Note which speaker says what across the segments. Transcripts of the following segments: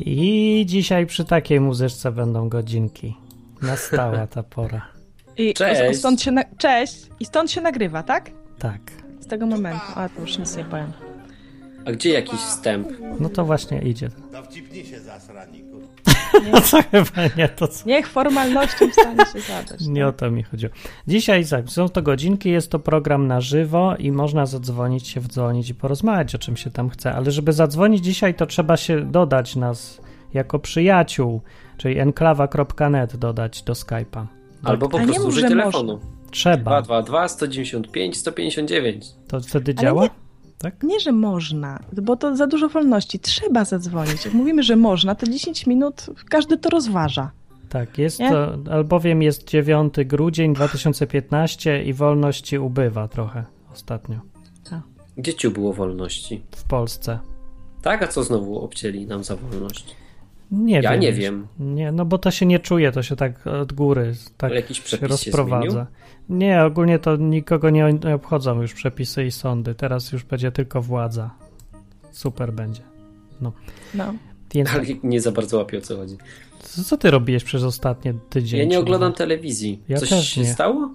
Speaker 1: I dzisiaj przy takiej muzyczce będą godzinki. Nastała ta pora.
Speaker 2: I
Speaker 3: Cześć.
Speaker 2: Stąd się na... Cześć! I stąd się nagrywa, tak?
Speaker 1: Tak.
Speaker 2: Z tego momentu. A, to już nic nie powiem.
Speaker 3: A gdzie jakiś wstęp?
Speaker 1: No to właśnie idzie.
Speaker 4: Dowcipnij się zasraniku.
Speaker 1: No to chyba nie to, co.
Speaker 2: Niech formalnością stanie się tak? zadać.
Speaker 1: Nie o to mi chodziło. Dzisiaj tak, są to godzinki, jest to program na żywo i można zadzwonić się, wdzwonić i porozmawiać o czym się tam chce. Ale żeby zadzwonić dzisiaj, to trzeba się dodać nas jako przyjaciół, czyli enklawa.net dodać do Skype'a.
Speaker 3: Albo po
Speaker 2: A nie
Speaker 3: prostu
Speaker 2: mów,
Speaker 3: użyj
Speaker 2: że
Speaker 3: telefonu.
Speaker 1: Trzeba.
Speaker 3: 222 195 159.
Speaker 1: To wtedy
Speaker 2: Ale
Speaker 1: działa?
Speaker 2: nie-
Speaker 1: Tak?
Speaker 2: Nie, że można, bo to za dużo wolności. Trzeba zadzwonić. Jak mówimy, że można, to 10 minut każdy to rozważa.
Speaker 1: Tak, jest
Speaker 2: Nie?
Speaker 1: to, albowiem jest 9 grudzień 2015 i wolności ubywa trochę ostatnio
Speaker 3: Gdzie ciu było wolności?
Speaker 1: w Polsce.
Speaker 3: Tak, a co znowu obcięli nam za wolność?
Speaker 1: Nie
Speaker 3: ja
Speaker 1: wiem.
Speaker 3: nie wiem.
Speaker 1: Nie, no bo to się nie czuje, to się tak od góry tak
Speaker 3: Ale jakiś
Speaker 1: się
Speaker 3: przepis się
Speaker 1: rozprowadza.
Speaker 3: zmienił?
Speaker 1: nie, ogólnie to nikogo nie nie obchodzą już przepisy i sądy. Teraz już będzie tylko władza. Super będzie.
Speaker 2: No.
Speaker 1: Więc
Speaker 3: Ale nie za bardzo łapię o co chodzi.
Speaker 1: co co ty robiłeś przez ostatnie tydzień?
Speaker 3: Ja nie
Speaker 1: czy
Speaker 3: oglądam
Speaker 1: dwa?
Speaker 3: telewizji.
Speaker 1: no. Ja
Speaker 3: Coś
Speaker 1: też
Speaker 3: się
Speaker 1: nie.
Speaker 3: stało?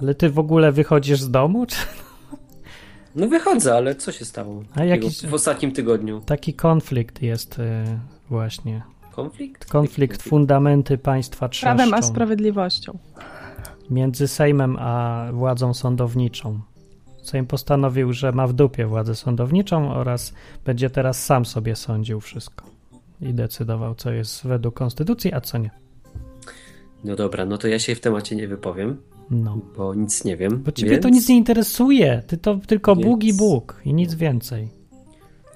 Speaker 1: Ale ty w ogóle wychodzisz z domu? Czy
Speaker 3: No wychodzę, ale co się stało?
Speaker 1: A jakiś-
Speaker 3: W ostatnim tygodniu.
Speaker 1: taki konflikt jest y, właśnie.
Speaker 3: Konflikt?
Speaker 1: Konflikt, fundamenty państwa trzeszczą
Speaker 2: Prawem a sprawiedliwością.
Speaker 1: między Sejmem a władzą sądowniczą. Sejm postanowił, że ma w dupie władzę sądowniczą oraz będzie teraz sam sobie sądził wszystko i decydował, co jest według konstytucji, a co nie.
Speaker 3: No dobra, no to ja się w temacie nie wypowiem,
Speaker 1: No.
Speaker 3: bo nic nie wiem.
Speaker 1: Bo ciebie
Speaker 3: więc...
Speaker 1: to nic nie interesuje, ty to tylko
Speaker 3: Więc- No.
Speaker 1: Bóg i Bóg i nic więcej.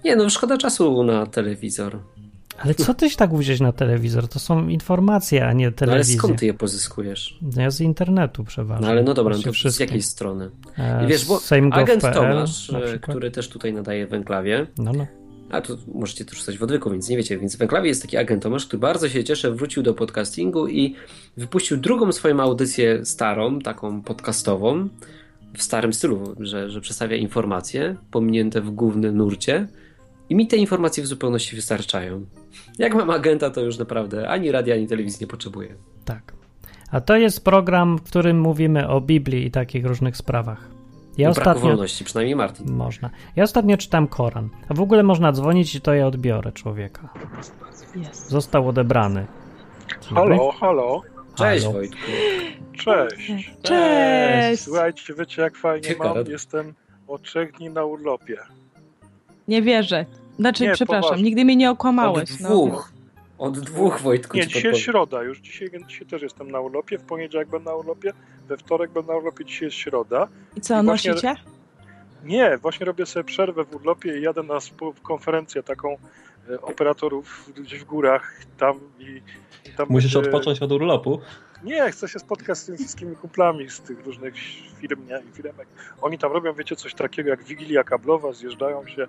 Speaker 3: Nie, no szkoda czasu na telewizor.
Speaker 1: Ale co tyś tak wziąć na telewizor? To są informacje, a nie
Speaker 3: No, ale
Speaker 1: telewizja.
Speaker 3: skąd ty je pozyskujesz?
Speaker 1: No Ja z internetu przeważnie.
Speaker 3: No ale no dobra, no to z
Speaker 1: wszystkie.
Speaker 3: jakiej strony?
Speaker 1: E,
Speaker 3: I wiesz, bo
Speaker 1: sejm.gov.pl
Speaker 3: agent Tomasz,
Speaker 1: na
Speaker 3: e,
Speaker 1: przykład.
Speaker 3: który też tutaj nadaje w Enklawie,
Speaker 1: No, no.
Speaker 3: a tu możecie też coś w odwyku, więc nie wiecie, więc w Enklawie jest taki agent Tomasz, który bardzo się cieszę, wrócił do podcastingu i wypuścił drugą swoją audycję starą, taką podcastową, w starym stylu, że, że przedstawia informacje pominięte w głównym nurcie i mi te informacje w zupełności wystarczają. Jak mam agenta, to już naprawdę ani radia, ani telewizji nie potrzebuję.
Speaker 1: Tak. A to jest program, w którym mówimy o Biblii i takich różnych sprawach. Ja
Speaker 3: I No, braku
Speaker 1: ostatnio.
Speaker 3: wolności, przynajmniej Martin.
Speaker 1: Można. Ja ostatnio czytam Koran. A w ogóle można dzwonić i to ja odbiorę człowieka.
Speaker 2: Jest.
Speaker 1: Został odebrany. Dzień dobry.
Speaker 5: Halo, halo.
Speaker 3: Cześć
Speaker 1: Halo.
Speaker 3: Wojtku.
Speaker 5: Cześć.
Speaker 2: Cześć!
Speaker 5: Słuchajcie, wiecie jak fajnie
Speaker 3: Ciekawe.
Speaker 5: mam? Jestem od trzech dni na urlopie.
Speaker 2: Nie wierzę. Znaczy,
Speaker 5: Nie,
Speaker 2: przepraszam,
Speaker 5: poważnie.
Speaker 2: nigdy mnie nie okłamałeś.
Speaker 3: Od
Speaker 2: no.
Speaker 3: dwóch. Od dwóch Wojtku.
Speaker 5: Nie,
Speaker 3: ci
Speaker 5: dzisiaj
Speaker 3: podpowiem.
Speaker 5: środa już. Dzisiaj, więc dzisiaj też jestem na urlopie. W poniedziałek będę na urlopie, we wtorek będę na urlopie, dzisiaj jest środa.
Speaker 2: I co,
Speaker 5: I właśnie-
Speaker 2: nosicie?
Speaker 5: Nie, właśnie robię sobie przerwę w urlopie i jadę na spo- konferencję taką e, operatorów gdzieś w górach tam i i tam
Speaker 6: Musisz
Speaker 5: będzie-
Speaker 6: odpocząć od urlopu.
Speaker 5: Nie, chcę się spotkać z tymi wszystkimi kumplami z tych różnych firm nie, i firmek. Oni tam robią, wiecie, coś takiego jak wigilia kablowa, zjeżdżają się.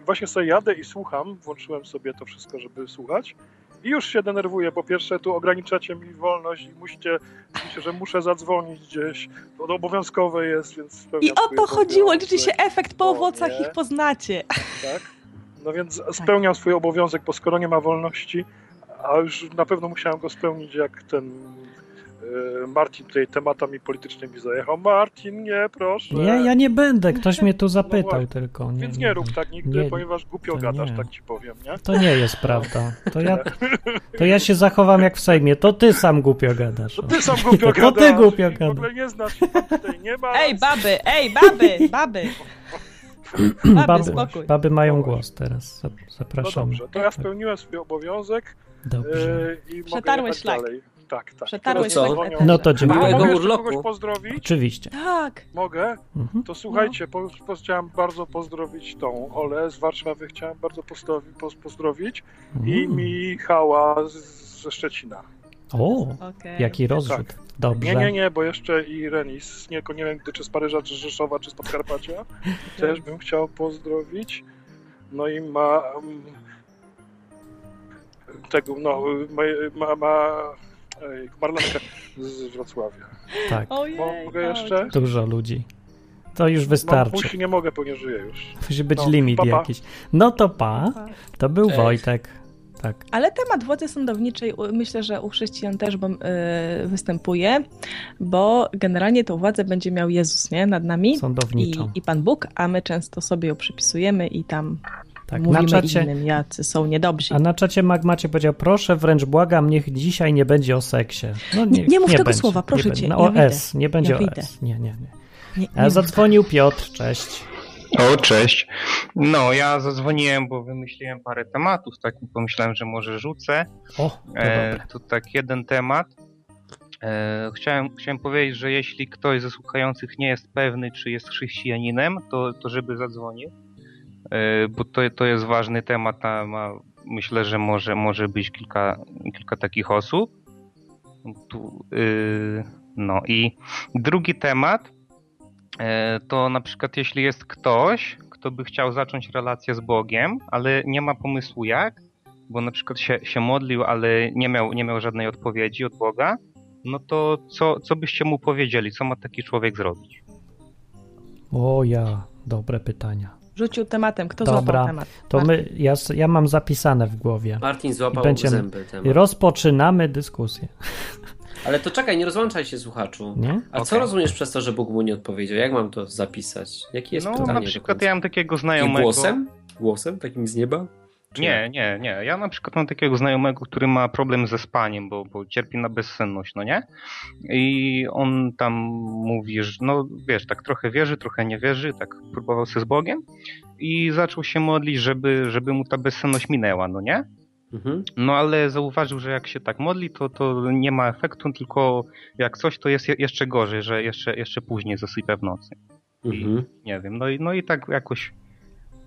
Speaker 5: I właśnie sobie jadę i słucham, włączyłem sobie to wszystko, żeby słuchać. I już się denerwuję. Po pierwsze, tu ograniczacie mi wolność i musicie, myślę, że muszę zadzwonić gdzieś. To obowiązkowe jest, więc... spełniam
Speaker 2: I o
Speaker 5: swój
Speaker 2: to chodziło,
Speaker 5: obowiązek.
Speaker 2: liczy się efekt po
Speaker 5: O,
Speaker 2: owocach,
Speaker 5: No nie.
Speaker 2: ich poznacie. Tak.
Speaker 5: Tak? No więc spełniam swój obowiązek, bo skoro nie ma wolności, a już na pewno musiałem go spełnić, jak ten e, Martin tutaj tematami politycznymi zajechał. Martin, nie, proszę.
Speaker 1: Ja, ja nie będę, ktoś mnie tu zapytał
Speaker 5: No właśnie.
Speaker 1: tylko. Nie,
Speaker 5: Więc nie rób tak nigdy,
Speaker 1: Nie,
Speaker 5: ponieważ głupio
Speaker 1: to
Speaker 5: gadasz,
Speaker 1: nie.
Speaker 5: tak ci powiem, nie?
Speaker 1: To nie jest prawda. To ja, to ja się zachowam jak w Sejmie. To ty sam głupio gadasz.
Speaker 5: To ty sam głupio
Speaker 1: To ty
Speaker 5: gadasz.
Speaker 1: głupio
Speaker 5: i W ogóle nie znasz, się pan tutaj nie ma.
Speaker 2: Ej, baby, ej, baby, baby. Baby, spokój.
Speaker 1: baby mają
Speaker 5: No
Speaker 1: głos teraz. Zap-
Speaker 5: no
Speaker 1: Zapraszam.
Speaker 5: dobrze, to ja spełniłem swój obowiązek e,
Speaker 1: Dobrze.
Speaker 5: i mogę
Speaker 2: Przetarłeś
Speaker 5: jechać
Speaker 2: szlak.
Speaker 5: dalej. Tak, tak.
Speaker 2: Przetarłeś
Speaker 3: No co?
Speaker 2: szlak
Speaker 5: Dzwonią.
Speaker 2: lekarza.
Speaker 1: No to
Speaker 5: A
Speaker 1: dziękuję.
Speaker 3: Miłego
Speaker 5: mogę jeszcze
Speaker 3: urlopu.
Speaker 5: kogoś pozdrowić?
Speaker 1: Oczywiście.
Speaker 2: Tak.
Speaker 5: Mogę?
Speaker 1: Mhm.
Speaker 5: To słuchajcie, po, po, chciałem bardzo pozdrowić tą Olę z Warszawy, chciałem bardzo pozdrowi, poz, pozdrowić i
Speaker 1: Mm.
Speaker 5: Michała z, ze Szczecina.
Speaker 1: O,
Speaker 2: Okej.
Speaker 5: Tak.
Speaker 1: jaki rozrzut.
Speaker 5: Nie,
Speaker 1: Dobrze.
Speaker 5: nie, nie, bo jeszcze i Renis, nie, nie wiem, gdy czy z Paryża, czy z Rzeszowa, czy z Podkarpacia, też bym chciał pozdrowić. No i ma... mm, tego, no, ma... ma, ma ej, Marlenkę z Wrocławia.
Speaker 1: Tak,
Speaker 2: Ojej,
Speaker 5: Mogę jeszcze?
Speaker 1: dużo ludzi. To już
Speaker 5: Mam
Speaker 1: wystarczy.
Speaker 5: pusi, nie mogę, bo nie żyję już.
Speaker 1: Musi być
Speaker 5: No,
Speaker 1: limit
Speaker 5: pa, pa.
Speaker 1: jakiś. No to pa.
Speaker 2: Pa.
Speaker 1: To był
Speaker 3: Cześć.
Speaker 1: Wojtek. Tak.
Speaker 2: Ale temat władzy sądowniczej u- myślę, że u chrześcijan też bo, y, występuje, bo generalnie tą władzę będzie miał Jezus nie? nad nami i,
Speaker 1: Sądowniczą.
Speaker 2: i Pan Bóg, a my często sobie ją przypisujemy i tam
Speaker 1: Tak. Na
Speaker 2: mówimy
Speaker 1: czacie,
Speaker 2: innym, jacy są niedobrzy.
Speaker 1: a na czacie Magmacie powiedział, proszę, wręcz błagam, niech dzisiaj nie będzie o seksie. No
Speaker 2: Nie- nie mów tego słowa, proszę
Speaker 1: nie
Speaker 2: cię,
Speaker 1: będzie.
Speaker 2: ja
Speaker 1: No, o
Speaker 2: wyjdę.
Speaker 1: S, nie będzie
Speaker 2: Ja
Speaker 1: o
Speaker 2: wyjdę.
Speaker 1: S. Nie, nie, nie.
Speaker 2: Nie,
Speaker 1: A
Speaker 2: nie
Speaker 1: zadzwonił Piotr, cześć.
Speaker 6: O, cześć. No, ja zadzwoniłem, bo wymyśliłem parę tematów, tak i pomyślałem, że może rzucę.
Speaker 1: O, to
Speaker 6: E,
Speaker 1: dobre.
Speaker 6: tu tak jeden temat. E, chciałem, chciałem powiedzieć, że jeśli ktoś ze słuchających nie jest pewny, czy jest chrześcijaninem, to, to żeby zadzwonił, e, bo to, to jest ważny temat, a ma, myślę, że może, może być kilka, kilka takich osób. Tu, y, no i drugi temat e, to na przykład jeśli jest ktoś, kto by chciał zacząć relację z Bogiem, ale nie ma pomysłu jak, bo na przykład się, się modlił, ale nie miał, nie miał żadnej odpowiedzi od Boga, no to co, co byście mu powiedzieli? Co ma taki człowiek zrobić?
Speaker 1: O ja, dobre pytania.
Speaker 2: Rzucił tematem, kto
Speaker 1: Dobra.
Speaker 2: złapał temat?
Speaker 1: To
Speaker 2: Marta.
Speaker 1: my, ja, s- ja mam zapisane w głowie.
Speaker 3: Martin złapał
Speaker 1: Będziemy-
Speaker 3: zęby temat.
Speaker 1: Rozpoczynamy dyskusję,
Speaker 3: Ale to czekaj, nie rozłączaj się, słuchaczu.
Speaker 1: nie?
Speaker 3: A co
Speaker 6: Okej.
Speaker 3: rozumiesz przez to, że Bóg mu nie odpowiedział? Jak mam to zapisać? Jakie jest
Speaker 6: no
Speaker 3: pytanie?
Speaker 6: na
Speaker 3: do
Speaker 6: przykład
Speaker 3: końca?
Speaker 6: ja mam takiego
Speaker 3: Takim
Speaker 6: znajomego...
Speaker 3: głosem? Głosem? Takim z nieba? Czy
Speaker 6: Nie, nie, nie. Ja na przykład mam takiego znajomego, który ma problem ze spaniem, bo, bo cierpi na bezsenność, no nie? I on tam mówi, że no wiesz, tak trochę wierzy, trochę nie wierzy, tak próbował się z Bogiem i zaczął się modlić, żeby, żeby mu ta bezsenność minęła, no nie?
Speaker 3: Mhm.
Speaker 6: No ale zauważył, że jak się tak modli, to, to nie ma efektu, tylko jak coś, to jest je- jeszcze gorzej, że jeszcze, jeszcze później zasypia w nocy.
Speaker 3: Mhm.
Speaker 6: Nie wiem, no i, no i tak jakoś...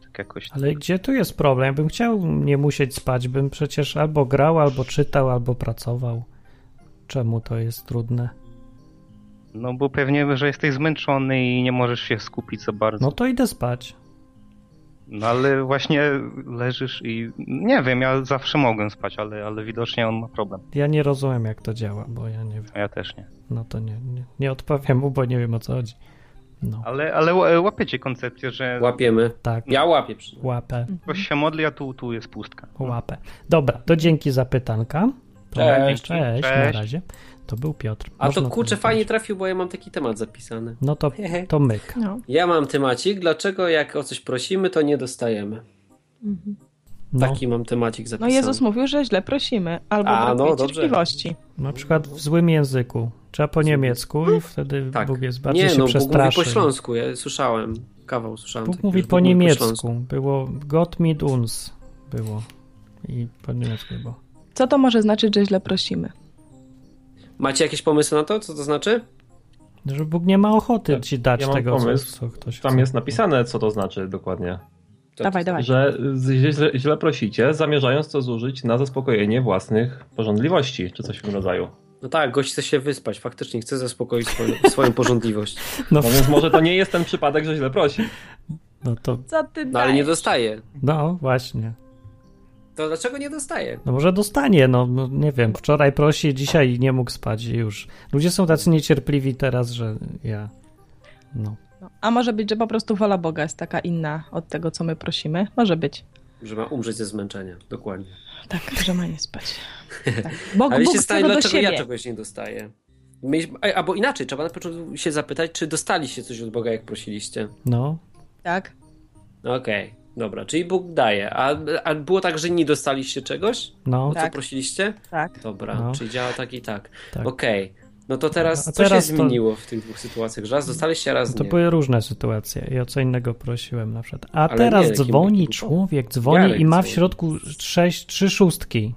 Speaker 6: Tak jakoś
Speaker 1: Ale gdzie tu jest problem? Ja bym chciał nie musieć spać, bym przecież albo grał, albo czytał, albo pracował. Czemu to jest trudne?
Speaker 6: No bo pewnie, że jesteś zmęczony i nie możesz się skupić za bardzo.
Speaker 1: No
Speaker 6: No,
Speaker 1: to idę spać.
Speaker 6: ale właśnie leżysz i nie wiem, ja zawsze mogłem spać, ale, ale widocznie on ma problem.
Speaker 1: Ja nie rozumiem, jak to działa, bo ja nie wiem.
Speaker 6: A ja też nie.
Speaker 1: No to nie, nie, nie odpowiem mu, bo nie wiem o co chodzi. No,
Speaker 6: Ale, ale ł- łapiecie koncepcję, że
Speaker 3: Łapiemy.
Speaker 1: tak.
Speaker 3: Ja łapię przynajmniej.
Speaker 1: Łapę,
Speaker 6: ktoś się modli, a tu, tu jest pustka.
Speaker 1: łapę. Dobra, to dzięki za pytanka.
Speaker 3: Cześć.
Speaker 1: Cześć, na
Speaker 6: Cześć.
Speaker 1: razie. To był Piotr.
Speaker 3: A
Speaker 1: Można
Speaker 3: to kurczę
Speaker 1: zapytać.
Speaker 3: fajnie trafił, bo ja mam taki temat zapisany.
Speaker 1: No to, to myk.
Speaker 2: No.
Speaker 3: Ja mam temacik, dlaczego jak o coś prosimy, to nie dostajemy.
Speaker 2: Mhm.
Speaker 1: No,
Speaker 3: Taki mam temacik
Speaker 2: no
Speaker 3: zapisany.
Speaker 2: Jezus mówił, że źle prosimy, albo
Speaker 3: A,
Speaker 2: brakuje
Speaker 3: no,
Speaker 2: ci
Speaker 3: dobrze.
Speaker 2: cierpliwości.
Speaker 1: na przykład w złym języku. Trzeba po niemiecku i wtedy
Speaker 3: Tak.
Speaker 1: Bóg jest bardziej
Speaker 3: Nie,
Speaker 1: się
Speaker 3: no Bóg mówi
Speaker 1: przestraszy.
Speaker 3: po śląsku, ja słyszałem. Kawał słyszałem.
Speaker 1: Bóg
Speaker 3: taki,
Speaker 1: mówi
Speaker 3: że
Speaker 1: po
Speaker 3: mówi
Speaker 1: niemiecku.
Speaker 3: śląsku.
Speaker 1: było Gott mit uns. Było. I po niemiecku było.
Speaker 2: Co to może znaczyć, że źle prosimy?
Speaker 3: Macie jakieś pomysły na to, co to znaczy?
Speaker 1: Że Bóg nie ma ochoty
Speaker 3: Tak,
Speaker 7: Ja-
Speaker 1: ci dać
Speaker 7: ja mam
Speaker 1: tego, co,
Speaker 7: pomysł.
Speaker 1: co ktoś
Speaker 7: Tam
Speaker 1: chce.
Speaker 7: jest napisane, co to znaczy dokładnie.
Speaker 3: To-
Speaker 2: Dawaj, dawaj.
Speaker 7: Że z- źle, źle prosicie, zamierzając to zużyć na zaspokojenie własnych porządliwości, czy coś w tym rodzaju.
Speaker 3: No tak, gość chce się wyspać, faktycznie chce zaspokoić swoją, swoją porządliwość.
Speaker 1: No,
Speaker 7: No więc może to nie jest ten przypadek, że źle prosi.
Speaker 1: no to,
Speaker 2: Co ty
Speaker 3: No ale nie
Speaker 2: dajesz?
Speaker 3: dostaje.
Speaker 1: no właśnie.
Speaker 3: To dlaczego nie dostaje?
Speaker 1: No może dostanie, no no nie wiem. Wczoraj prosi, dzisiaj nie mógł spać i już. Ludzie są tacy niecierpliwi teraz, że ja... No.
Speaker 2: No. A może być, że po prostu wola Boga jest taka inna od tego, co my prosimy? Może być.
Speaker 3: Że ma umrzeć ze zmęczenia, dokładnie.
Speaker 2: Tak, że ma nie spać. Tak. Bóg,
Speaker 3: Ale
Speaker 2: Bóg
Speaker 3: się
Speaker 2: chce
Speaker 3: stanie,
Speaker 2: go do
Speaker 3: dlaczego
Speaker 2: siebie.
Speaker 3: ja czegoś nie dostaję. Mieliśmy, a- albo inaczej, trzeba na początku się zapytać, czy dostaliście coś od Boga, jak prosiliście.
Speaker 1: No.
Speaker 2: Tak.
Speaker 3: No Okej, dobra, czyli Bóg daje. A, a było tak, że nie dostaliście czegoś?
Speaker 1: No.
Speaker 3: O co
Speaker 2: Tak.
Speaker 3: prosiliście?
Speaker 2: Tak.
Speaker 3: Dobra,
Speaker 1: No.
Speaker 3: czyli działa tak i tak.
Speaker 1: Tak.
Speaker 3: Okej, no to teraz
Speaker 1: A
Speaker 3: co
Speaker 1: teraz
Speaker 3: się
Speaker 1: to-
Speaker 3: zmieniło w tych dwóch sytuacjach? Że raz dostaliście, raz
Speaker 1: No To
Speaker 3: nie.
Speaker 1: były różne sytuacje i o co innego prosiłem na przykład. A
Speaker 3: Ale
Speaker 1: teraz
Speaker 3: nie, jakim-
Speaker 1: dzwoni
Speaker 3: jakim-
Speaker 1: człowiek, dzwoni
Speaker 3: Jarek
Speaker 1: i ma w
Speaker 3: dzwoni. Tak.
Speaker 1: środku sześć, trzy szóstki.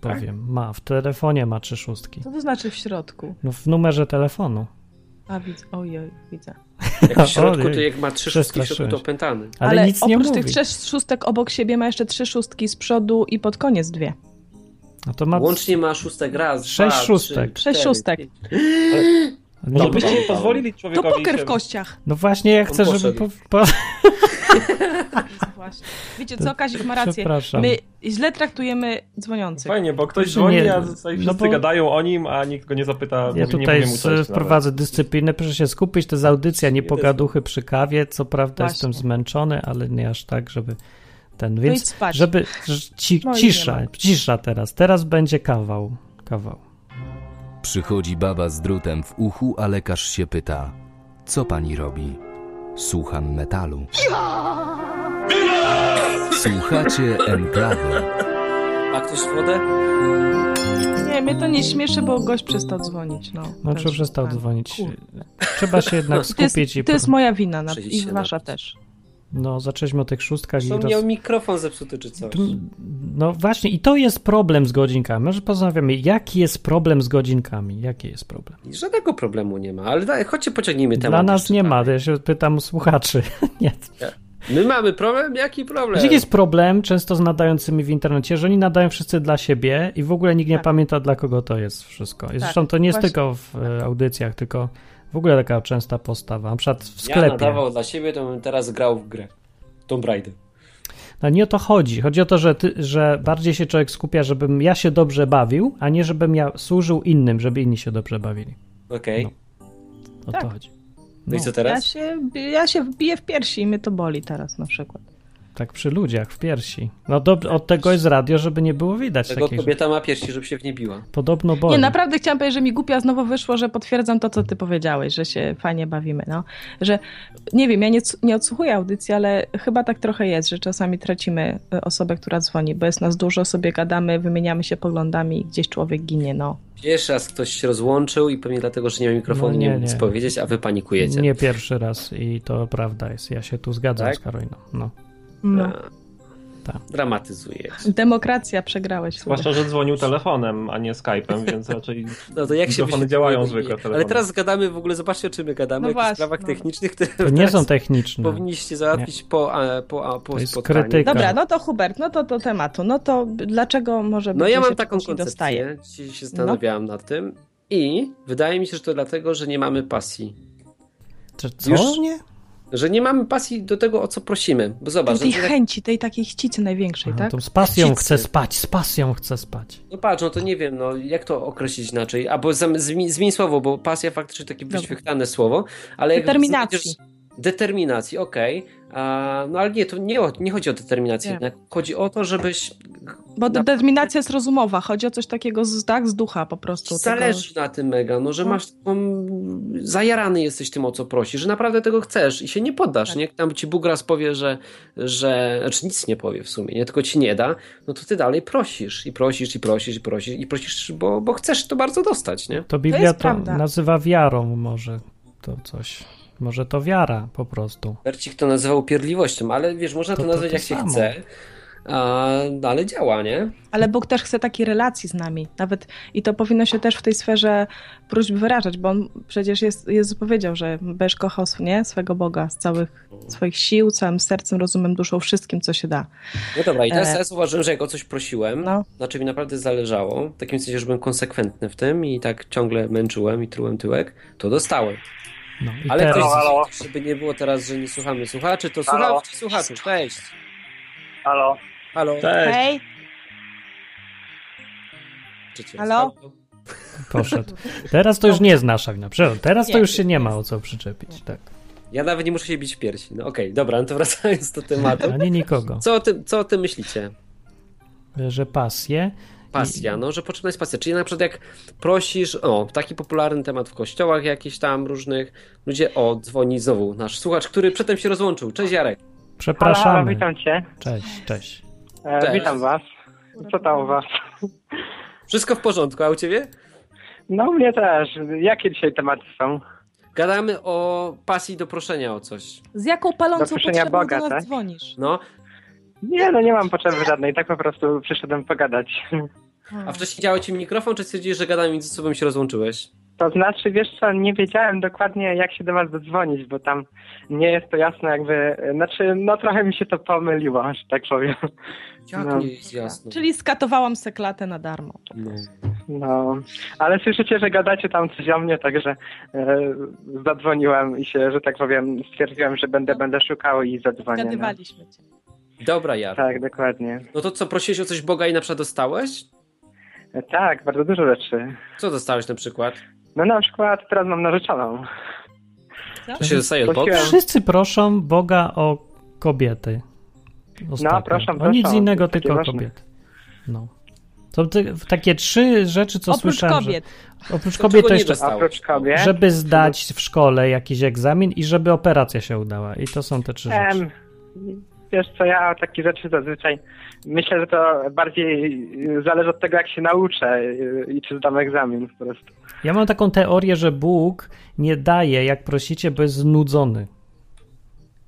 Speaker 1: Powiem, ma, w telefonie ma trzy szóstki.
Speaker 2: Co to znaczy w środku?
Speaker 1: No w numerze telefonu.
Speaker 2: A widzę, ojej, widzę.
Speaker 3: Jak w środku, to
Speaker 1: Ojej,
Speaker 3: jak ma trzy szóstki w środku,
Speaker 1: przestraszyłeś.
Speaker 3: to opętany.
Speaker 1: Ale, nic nie
Speaker 2: oprócz
Speaker 1: mówi.
Speaker 2: tych trzech szóstek obok siebie ma jeszcze trzy szóstki z przodu i pod koniec dwie.
Speaker 1: No to ma
Speaker 3: Łącznie ma szóstek raz,
Speaker 1: Sześć
Speaker 3: dwa,
Speaker 1: szóstek.
Speaker 3: Trzy,
Speaker 2: Sześć
Speaker 3: cztery,
Speaker 2: szóstek.
Speaker 3: pięć.
Speaker 1: No,
Speaker 7: No byście nie
Speaker 3: Paweł.
Speaker 7: pozwolili
Speaker 2: To
Speaker 7: człowiekowi
Speaker 2: poker
Speaker 7: się-
Speaker 2: w kościach.
Speaker 1: no właśnie, ja chcę, żeby.
Speaker 3: poszedł.
Speaker 1: po- po-
Speaker 2: Właśnie. Wiecie co, Kazik ma rację.
Speaker 1: Przepraszam.
Speaker 2: My źle traktujemy dzwoniących.
Speaker 7: Fajnie, bo ktoś
Speaker 1: Znaczy Nie,
Speaker 7: dzwoni, a tutaj
Speaker 1: no
Speaker 7: wszyscy
Speaker 1: bo-
Speaker 7: gadają o nim, a nikt go nie zapyta.
Speaker 1: Ja
Speaker 7: nie
Speaker 1: tutaj
Speaker 7: powinien mu
Speaker 1: z-
Speaker 7: coś nawet.
Speaker 1: wprowadzę dyscyplinę, proszę się skupić, to jest audycja, nie
Speaker 7: Nie
Speaker 1: pogaduchy przy kawie, co prawda
Speaker 2: Właśnie.
Speaker 1: jestem zmęczony, ale nie aż tak, żeby ten,
Speaker 2: No idź
Speaker 1: więc
Speaker 2: spać.
Speaker 1: żeby ż- ci,
Speaker 2: No i
Speaker 1: cisza,
Speaker 2: nie
Speaker 1: cisza teraz, teraz będzie kawał, kawał.
Speaker 8: Przychodzi baba z drutem w uchu, a lekarz się pyta: Co pani robi? Słucham metalu. Słuchacie enklawy.
Speaker 3: A ktoś wodę?
Speaker 2: Nie, mnie to nie śmieszy, bo gość przestał dzwonić. No,
Speaker 1: Znaczy
Speaker 2: Też.
Speaker 1: przestał
Speaker 2: Tak.
Speaker 1: dzwonić.
Speaker 2: Kur- No,
Speaker 1: Trzeba się jednak
Speaker 2: To jest,
Speaker 1: skupić i
Speaker 2: to jest
Speaker 1: po-
Speaker 2: moja wina na,
Speaker 3: Przyjść
Speaker 2: i
Speaker 3: się
Speaker 2: wasza
Speaker 3: napić.
Speaker 2: też.
Speaker 1: no zaczęliśmy o tych szóstkach i
Speaker 3: Czy on
Speaker 1: roz...
Speaker 3: miał mikrofon zepsuty czy coś?
Speaker 1: No właśnie i to jest problem z godzinkami. Może porozmawiamy, jaki jest problem z godzinkami? Jaki jest problem?
Speaker 3: Żadnego problemu nie ma, ale daj, chodźcie pociągnijmy temat.
Speaker 1: Dla nas
Speaker 3: jeszcze
Speaker 1: nie ma,
Speaker 3: dalej.
Speaker 1: ja się pytam u słuchaczy. Nie,
Speaker 3: My mamy problem? Jaki problem?
Speaker 1: Jaki jest problem często z nadającymi w internecie, że oni nadają wszyscy dla siebie i w ogóle nikt nie
Speaker 2: Tak.
Speaker 1: pamięta dla kogo to jest wszystko. I
Speaker 2: Tak,
Speaker 1: zresztą to nie jest
Speaker 2: właśnie.
Speaker 1: tylko w e, audycjach, tylko w ogóle taka częsta postawa, na przykład w
Speaker 3: Ja
Speaker 1: sklepie.
Speaker 3: nadawał dla siebie, to bym teraz grał w grę. Tomb Raider.
Speaker 1: No nie o to chodzi. Chodzi o to, że, ty, że bardziej się człowiek skupia, żebym ja się dobrze bawił, a nie żebym ja służył innym, żeby inni się dobrze bawili.
Speaker 3: Okej.
Speaker 1: No. O
Speaker 2: Tak.
Speaker 1: to chodzi.
Speaker 3: No i co
Speaker 2: Ja
Speaker 3: teraz?
Speaker 2: się, ja się wbiję w piersi i mnie to boli teraz na przykład.
Speaker 1: Tak przy ludziach, w piersi. No do, od tego jest radio, żeby nie było widać
Speaker 3: Tak, Tego
Speaker 1: takich rzeczy.
Speaker 3: kobieta ma piersi, żeby się w nie biła.
Speaker 1: Podobno boli.
Speaker 2: Nie, naprawdę chciałam powiedzieć, że mi głupia znowu wyszło, że potwierdzam to, co ty powiedziałeś, że się fajnie bawimy, no. Że, nie wiem, ja nie, c- nie odsłuchuję audycji, ale chyba tak trochę jest, że czasami tracimy e, osobę, która dzwoni, bo jest nas dużo, sobie gadamy, wymieniamy się poglądami i gdzieś człowiek ginie, no.
Speaker 3: Pierwszy raz ktoś się rozłączył i pewnie dlatego, że nie ma mikrofonu,
Speaker 1: No
Speaker 3: nie,
Speaker 1: nie,
Speaker 3: mógł nic
Speaker 1: nie.
Speaker 3: powiedzieć, a wy panikujecie.
Speaker 1: Nie pierwszy raz i to prawda jest. Ja się tu zgadzam
Speaker 3: Tak?
Speaker 1: z Karoliną. No.
Speaker 2: no.
Speaker 3: A,
Speaker 1: Tak.
Speaker 3: Dramatyzuje.
Speaker 2: Demokracja, przegrałeś. Sławek.
Speaker 7: Zwłaszcza, że dzwonił telefonem, a nie Skype'em, więc raczej
Speaker 3: No to jak się
Speaker 7: Mikrofony
Speaker 3: myśli-
Speaker 7: działają
Speaker 3: nie,
Speaker 7: zwykle, telefony.
Speaker 3: Ale teraz gadamy w ogóle, zobaczcie o czym my gadamy,
Speaker 2: No
Speaker 3: o jakichś
Speaker 2: właśnie,
Speaker 3: sprawach
Speaker 2: no.
Speaker 3: technicznych, które
Speaker 1: To nie
Speaker 3: teraz
Speaker 1: są techniczne.
Speaker 3: powinniście załatwić po, a, po, a, po
Speaker 1: To jest
Speaker 3: spotkaniu.
Speaker 1: krytyka.
Speaker 2: Dobra, no to Hubert, no to do tematu. No to dlaczego może być,
Speaker 3: No ja
Speaker 2: że
Speaker 3: mam
Speaker 2: się
Speaker 3: taką
Speaker 2: czegoś nie dostaje? No.
Speaker 3: koncepcję, dzisiaj się zastanawiałam nad tym i wydaje mi się, że to dlatego, że nie mamy pasji.
Speaker 1: Czy co?
Speaker 3: Już-
Speaker 1: Nie?
Speaker 3: Że nie mamy pasji do tego, o co prosimy. Bo
Speaker 2: Tej
Speaker 3: zobacz, że, że tak,
Speaker 2: chęci, tej takiej chcicy największej,
Speaker 1: Aha,
Speaker 2: tak?
Speaker 1: to z pasją
Speaker 3: Wszyscy.
Speaker 1: chcę spać, z pasją chcę spać.
Speaker 3: no patrz, no to nie wiem, no jak to określić inaczej, albo zam- zmień, zmień słowo, bo pasja faktycznie takie
Speaker 2: Dobra.
Speaker 3: wyświechtane słowo, ale jak
Speaker 2: Determinacji.
Speaker 3: znajdziesz- Determinacji, okej. A, No ale nie, to nie, o- nie chodzi o determinację.
Speaker 2: Nie.
Speaker 3: Jednak. Chodzi o to, żebyś
Speaker 2: Bo
Speaker 3: Na-
Speaker 2: determinacja jest rozumowa, chodzi o coś takiego z, tak, z ducha po prostu.
Speaker 3: Zależy na tym mega, no, że
Speaker 2: No.
Speaker 3: masz taką, zajarany jesteś tym, o co prosisz, że naprawdę tego chcesz i się nie poddasz,
Speaker 2: Tak.
Speaker 3: nie? Jak tam ci Bóg raz powie, że, że, znaczy nic nie powie w sumie, nie? Tylko ci nie da, no to ty dalej prosisz i prosisz i prosisz i prosisz i prosisz, bo, bo chcesz to bardzo dostać, nie?
Speaker 1: To Biblia to,
Speaker 2: prawda.
Speaker 1: nazywa wiarą może to coś. Może to wiara po prostu.
Speaker 3: Bercik to nazywał pierliwością, ale wiesz, można
Speaker 1: To-
Speaker 3: to,
Speaker 1: to
Speaker 3: nazwać
Speaker 1: to
Speaker 3: jak się
Speaker 1: samo.
Speaker 3: chce, a, no, ale działa, nie?
Speaker 2: Ale Bóg też chce takiej relacji z nami. Nawet i to powinno się też w tej sferze próśb wyrażać, bo on przecież jest, Jezus powiedział, że będziesz kochał nie? swego Boga z całych swoich sił, całym sercem, rozumem, duszą, wszystkim, co się da.
Speaker 3: No dobra, i teraz,
Speaker 2: E.
Speaker 3: teraz uważam, że jak o coś prosiłem,
Speaker 2: No.
Speaker 3: znaczy mi naprawdę zależało, w takim sensie, że byłem konsekwentny w tym i tak ciągle męczyłem i trułem tyłek, to dostałem.
Speaker 1: No, i
Speaker 3: Ale ktoś,
Speaker 1: teraz,
Speaker 5: Halo?
Speaker 3: żeby nie było teraz, że nie słuchamy słuchaczy, to
Speaker 5: Halo?
Speaker 3: słuchamy słuchaczy. Cześć.
Speaker 5: Halo?
Speaker 3: Halo.
Speaker 7: Cześć.
Speaker 2: Hej,
Speaker 3: Czy cię
Speaker 2: halo?
Speaker 1: poszedł. teraz to już nie jest nasza wina. Przepraszam, teraz to
Speaker 2: Nie,
Speaker 1: już się nie
Speaker 2: nie
Speaker 1: ma
Speaker 2: jest.
Speaker 1: o co przyczepić. Tak.
Speaker 3: Ja nawet nie muszę się bić w piersi. No okej, dobra, no to wracając do tematu.
Speaker 1: Ani nikogo.
Speaker 3: Co o tym, co o tym myślicie?
Speaker 1: Że pasje.
Speaker 3: Pasja,
Speaker 2: Mm.
Speaker 3: no, że potrzebna jest pasja. Czyli na przykład jak prosisz, o, taki popularny temat w kościołach jakichś tam różnych, ludzie, o, dzwoni znowu nasz słuchacz, który przedtem się rozłączył. Cześć Jarek.
Speaker 1: Przepraszamy.
Speaker 9: Halo, halo, witam cię.
Speaker 1: Cześć, cześć.
Speaker 9: E,
Speaker 3: Cześć.
Speaker 9: Witam was. Co tam u was?
Speaker 3: Wszystko w porządku, a u ciebie?
Speaker 9: No u mnie też. Jakie dzisiaj tematy są?
Speaker 3: Gadamy o pasji do proszenia o coś.
Speaker 2: Z jaką palącą
Speaker 9: Do
Speaker 2: potrzebą
Speaker 9: czynienia Boga,
Speaker 2: do nas
Speaker 9: tak?
Speaker 2: dzwonisz?
Speaker 3: No,
Speaker 9: Nie, no nie mam potrzeby żadnej, tak po prostu przyszedłem pogadać.
Speaker 2: Hmm.
Speaker 3: a wcześniej działał ci mikrofon, czy stwierdziłeś, że gadamy między sobą i się rozłączyłeś?
Speaker 9: To znaczy, wiesz co, nie wiedziałem dokładnie jak się do was dodzwonić, bo tam nie jest to jasne jakby, znaczy no trochę mi się to pomyliło, że tak powiem.
Speaker 3: Jak
Speaker 9: No.
Speaker 3: nie jest jasno?
Speaker 2: Czyli skatowałam seklatę na darmo.
Speaker 3: No.
Speaker 9: No, ale słyszycie, że gadacie tam coś o mnie, także e, zadzwoniłem i się, że tak powiem, stwierdziłem, że będę, będę szukał i zadzwonię. No.
Speaker 2: Gadywaliśmy cię.
Speaker 3: Dobra, Jaro.
Speaker 9: Tak, dokładnie.
Speaker 3: No to co, prosiłeś o coś Boga i na przykład dostałeś?
Speaker 9: E, Tak, bardzo dużo rzeczy.
Speaker 3: Co dostałeś na przykład?
Speaker 9: No na przykład teraz mam narzeczoną.
Speaker 3: Co
Speaker 1: Mhm.
Speaker 3: się dostaje od Boga?
Speaker 9: Prosiłem.
Speaker 1: Wszyscy proszą Boga o kobiety. Ostatnio.
Speaker 9: No, proszę,
Speaker 1: o
Speaker 9: proszę,
Speaker 1: No nic innego,
Speaker 9: takie
Speaker 1: tylko o
Speaker 9: ważne.
Speaker 1: kobiety. No. To ty, takie trzy rzeczy, co
Speaker 2: Oprócz
Speaker 1: słyszałem.
Speaker 2: kobiet.
Speaker 1: Że, oprócz
Speaker 3: To
Speaker 1: kobiet
Speaker 3: czego
Speaker 1: to
Speaker 3: nie
Speaker 1: jeszcze
Speaker 3: dostałeś?
Speaker 9: Oprócz kobiet.
Speaker 1: żeby zdać w szkole jakiś egzamin i żeby operacja się udała. I to są te trzy rzeczy.
Speaker 9: Em, wiesz co, ja o takie rzeczy zazwyczaj myślę, że to bardziej y, zależy od tego, jak się nauczę y, i czy zdam egzamin po prostu.
Speaker 1: Ja mam taką teorię, że Bóg nie daje, jak prosicie, bo jest znudzony.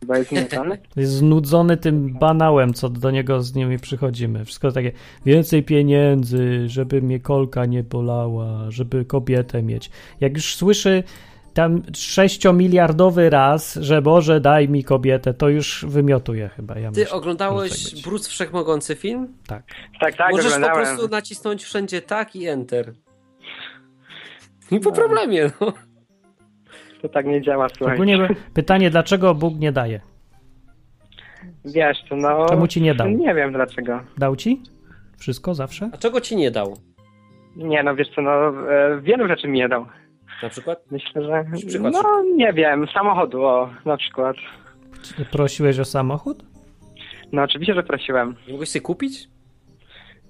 Speaker 9: Bo jest nieznany.
Speaker 1: Jest znudzony tym banałem, co do niego z nimi przychodzimy. Wszystko takie więcej pieniędzy, żeby mnie kolka nie bolała, żeby kobietę mieć. Jak już słyszy tam sześciomiliardowy raz, że Boże daj mi kobietę, to już wymiotuje chyba. Ja
Speaker 3: Ty
Speaker 1: myślę.
Speaker 3: oglądałeś
Speaker 1: Może tak być.
Speaker 3: Bruce Wszechmogący film?
Speaker 1: Tak.
Speaker 9: Tak, tak,
Speaker 3: Możesz po
Speaker 9: oglądałem.
Speaker 3: prostu nacisnąć wszędzie tak i enter. I po problemie, no.
Speaker 9: To tak nie działa, słuchaj.
Speaker 1: Ogólnie pytanie, dlaczego Bóg nie daje?
Speaker 9: Wiesz, to no...
Speaker 1: Czemu ci nie dał?
Speaker 9: Nie wiem dlaczego.
Speaker 1: Dał ci? Wszystko zawsze?
Speaker 3: A czego ci nie dał?
Speaker 9: Nie, no wiesz co, no e, wielu rzeczy mi nie dał.
Speaker 3: Na przykład?
Speaker 9: Myślę, że...
Speaker 3: Jakiś przykład
Speaker 9: No, nie wiem, samochodu, o, na przykład.
Speaker 1: Czy Prosiłeś o samochód?
Speaker 9: No oczywiście, że prosiłem.
Speaker 3: Nie mogłeś sobie kupić?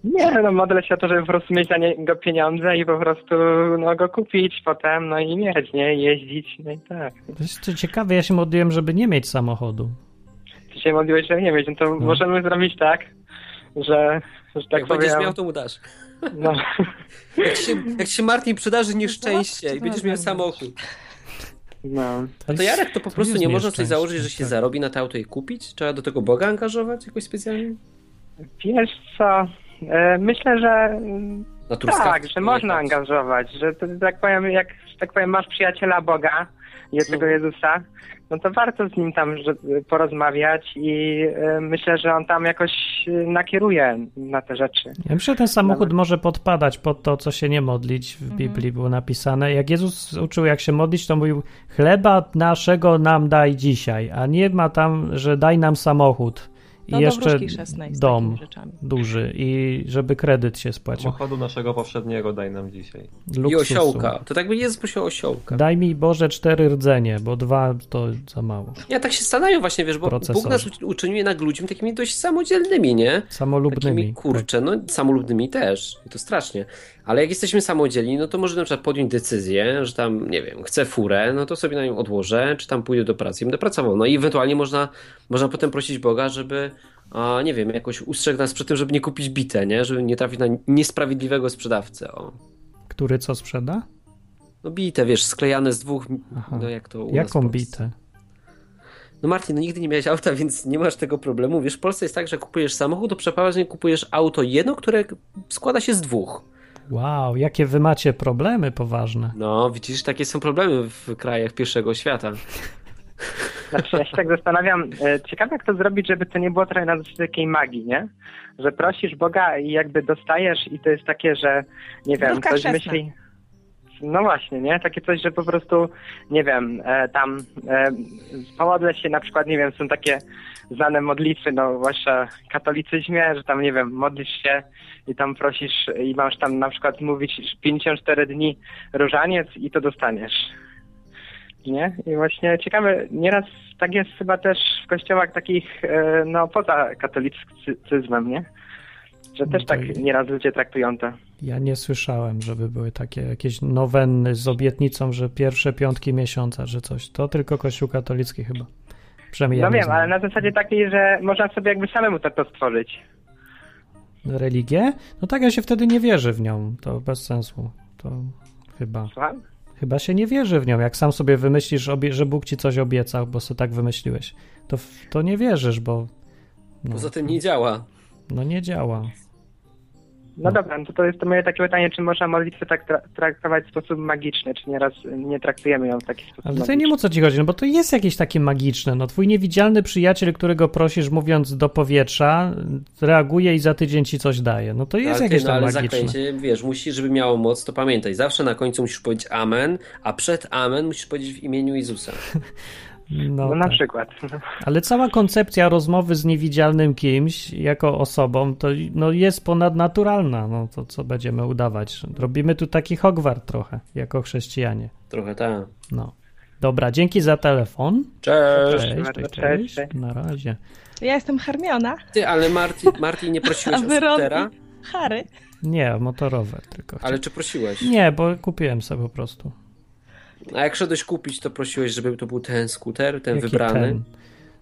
Speaker 9: Nie, no modlę się o to, żeby po prostu mieć na niego pieniądze i po prostu no, go kupić potem, no i mieć, nie? Jeździć, no i tak.
Speaker 1: To jest to ciekawe, ja się modliłem, żeby nie mieć samochodu.
Speaker 9: Ty się modliłeś, że nie mieć, no to możemy zrobić tak, że, że tak
Speaker 3: jak
Speaker 9: powiem...
Speaker 3: będziesz miał, to mu dasz.
Speaker 9: no,
Speaker 3: Jak ci się, jak ci się Martin przydarzy nieszczęście i będziesz miał samochód.
Speaker 9: no.
Speaker 3: A to Jarek to po prostu
Speaker 1: jest
Speaker 3: nie można sobie
Speaker 1: nieszczęście,
Speaker 3: założyć, że się
Speaker 1: tak.
Speaker 3: zarobi na to auto i kupić? Trzeba do tego Boga angażować jakoś specjalnie?
Speaker 9: Wiesz co, e, myślę, że mm,
Speaker 3: Na truskawki
Speaker 9: tak, że
Speaker 3: nie
Speaker 9: można
Speaker 3: jechać.
Speaker 9: angażować, że to, tak powiem, jak że tak powiem, masz przyjaciela Boga, jednego Jezusa, no to warto z nim tam że, porozmawiać i e, myślę, że on tam jakoś e, nakieruje na te rzeczy.
Speaker 1: Ja myślę, że ten samochód
Speaker 9: Nawet.
Speaker 1: może podpadać pod to, co się nie modlić.
Speaker 2: Mhm.
Speaker 1: W Biblii było napisane. Jak Jezus uczył, jak się modlić, to mówił: Chleba naszego nam daj dzisiaj, a nie ma tam, że daj nam samochód i
Speaker 2: No do
Speaker 1: jeszcze
Speaker 2: wróżki chrzestnej z
Speaker 1: dom
Speaker 2: takimi rzeczami.
Speaker 1: duży i żeby kredyt się spłacił.
Speaker 7: Samochodu naszego poprzedniego daj nam dzisiaj.
Speaker 3: I
Speaker 1: Luksusu.
Speaker 3: osiołka. To tak by Jezus prosił o osiołka.
Speaker 1: Daj mi Boże cztery rdzenie, bo dwa to za mało.
Speaker 3: Ja tak się stanają właśnie, wiesz, bo
Speaker 1: Procesorze.
Speaker 3: Bóg nas uczy- uczynił jednak ludźmi takimi dość samodzielnymi, nie? Takimi,
Speaker 1: Samolubnymi. tak.
Speaker 3: kurczę, no samolubnymi też. I to strasznie. Ale jak jesteśmy samodzielni, no to może na przykład podjąć decyzję, że tam, nie wiem, chcę furę, no to sobie na nią odłożę, czy tam pójdę do pracy i będę pracował. No i ewentualnie można, można potem prosić Boga, żeby, a, nie wiem, jakoś ustrzegł nas przed tym, żeby nie kupić bite, nie? Żeby nie trafić na niesprawiedliwego sprzedawcę, o.
Speaker 1: Który co sprzeda?
Speaker 3: No bite, wiesz, sklejane z dwóch,
Speaker 1: Aha.
Speaker 3: no jak to u nas w
Speaker 1: Jaką
Speaker 3: Polsce.
Speaker 1: bitę?
Speaker 3: No Martin, no nigdy nie miałeś auta, więc nie masz tego problemu. Wiesz, w Polsce jest tak, że kupujesz samochód, to przeważnie kupujesz auto jedno, które składa się z dwóch.
Speaker 1: Wow, jakie wy macie problemy poważne.
Speaker 3: No, widzisz, takie są problemy w krajach pierwszego świata.
Speaker 9: Znaczy, ja się tak zastanawiam, e, ciekawe jak to zrobić, żeby to nie było trochę na zasadzie takiej magii, nie? Że prosisz Boga i jakby dostajesz i to jest takie, że nie wiem,
Speaker 2: Wróżka
Speaker 9: ktoś
Speaker 2: chrzestna.
Speaker 9: myśli... No właśnie, nie? Takie coś, że po prostu, nie wiem, e, tam e, pomodlę się na przykład, nie wiem, są takie znane modlitwy, no zwłaszcza w katolicyzmie, że tam, nie wiem, modlisz się i tam prosisz i masz tam na przykład mówić 54 dni różaniec i to dostaniesz. Nie? I właśnie ciekawe, nieraz tak jest chyba też w kościołach takich, e, no poza katolicyzmem, nie? Że też
Speaker 1: No to
Speaker 9: tak
Speaker 1: i-
Speaker 9: nieraz ludzie traktują to.
Speaker 1: Ja nie słyszałem, żeby były takie jakieś nowenny z obietnicą, że pierwsze piątki miesiąca, że coś. To tylko Kościół katolicki chyba. Przynajmniej ja
Speaker 9: no
Speaker 1: nie
Speaker 9: wiem,
Speaker 1: znam.
Speaker 9: ale na zasadzie takiej, że można sobie jakby samemu to, to stworzyć.
Speaker 1: Religię? No tak, ja się wtedy nie wierzy w nią. To bez sensu. To chyba.
Speaker 9: Słucham?
Speaker 1: Chyba się nie wierzy w nią. Jak sam sobie wymyślisz, obie- że Bóg ci coś obiecał, bo sobie tak wymyśliłeś, to, w- to nie wierzysz, bo. No,
Speaker 3: Poza tym nie działa.
Speaker 1: no nie działa.
Speaker 9: No,
Speaker 1: No.
Speaker 9: dobra, no to, to jest to moje takie pytanie, czy można modlitwę tak tra- traktować w sposób magiczny, czy nieraz nie traktujemy ją w taki sposób
Speaker 1: Ale to ja
Speaker 9: magiczny.
Speaker 1: nie wiem o co ci chodzi, no bo to jest jakieś takie magiczne. No twój niewidzialny przyjaciel, którego prosisz mówiąc do powietrza, reaguje i za tydzień ci coś daje. No to jest
Speaker 3: ale
Speaker 1: jakieś
Speaker 3: no,
Speaker 1: tam
Speaker 3: ale
Speaker 1: magiczne.
Speaker 3: zaklęcie, wiesz, musisz, żeby miało moc, to pamiętaj. Zawsze na końcu musisz powiedzieć amen, a przed amen musisz powiedzieć w imieniu Jezusa.
Speaker 9: No, na
Speaker 1: tak.
Speaker 9: przykład.
Speaker 1: Ale cała koncepcja rozmowy z niewidzialnym kimś jako osobą to no, jest ponadnaturalna. No to co będziemy udawać? Robimy tu taki Hogwart trochę, jako chrześcijanie.
Speaker 3: Trochę tak.
Speaker 1: No. Dobra, dzięki za telefon.
Speaker 3: Cześć.
Speaker 1: cześć,
Speaker 9: Cześć,
Speaker 1: cześć.
Speaker 9: cześć.
Speaker 1: Na razie.
Speaker 2: Ja jestem Hermiona,
Speaker 3: Ty, ale Marti, Marti nie
Speaker 2: a
Speaker 3: prosiłeś o
Speaker 2: wy Ron
Speaker 3: skutera,
Speaker 2: i Harry.
Speaker 1: Nie, motorowe tylko.
Speaker 3: ale czy prosiłeś?
Speaker 1: Nie, bo kupiłem sobie po prostu.
Speaker 3: A jak szedłeś kupić, to prosiłeś, żeby to był ten skuter, ten
Speaker 1: Jaki
Speaker 3: wybrany?
Speaker 1: ten?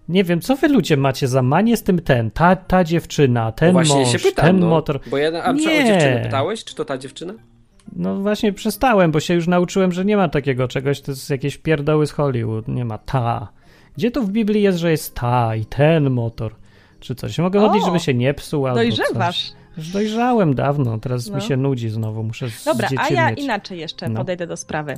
Speaker 1: Nie wiem, co wy ludzie macie za manię z tym ten, ta, ta dziewczyna,
Speaker 3: No
Speaker 1: ten
Speaker 3: właśnie
Speaker 1: mąż,
Speaker 3: się pytam,
Speaker 1: ten
Speaker 3: no,
Speaker 1: motor.
Speaker 3: Bo ja, a
Speaker 1: Nie.
Speaker 3: nie. o dziewczynę pytałeś, czy to ta dziewczyna?
Speaker 1: No właśnie przestałem, bo się już nauczyłem, że nie ma takiego czegoś, to jest jakieś pierdoły z Hollywood, nie ma ta. Gdzie to w Biblii jest, że jest ta i ten motor, czy coś? Mogę
Speaker 2: O!
Speaker 1: chodzić, żeby się nie psuł albo coś.
Speaker 2: Dojrzewasz.
Speaker 1: Już dojrzałem dawno, teraz
Speaker 2: No.
Speaker 1: mi się nudzi znowu, muszę z
Speaker 2: Dobra, a ja
Speaker 1: zdzieciernieć.
Speaker 2: inaczej jeszcze
Speaker 1: No.
Speaker 2: podejdę do sprawy.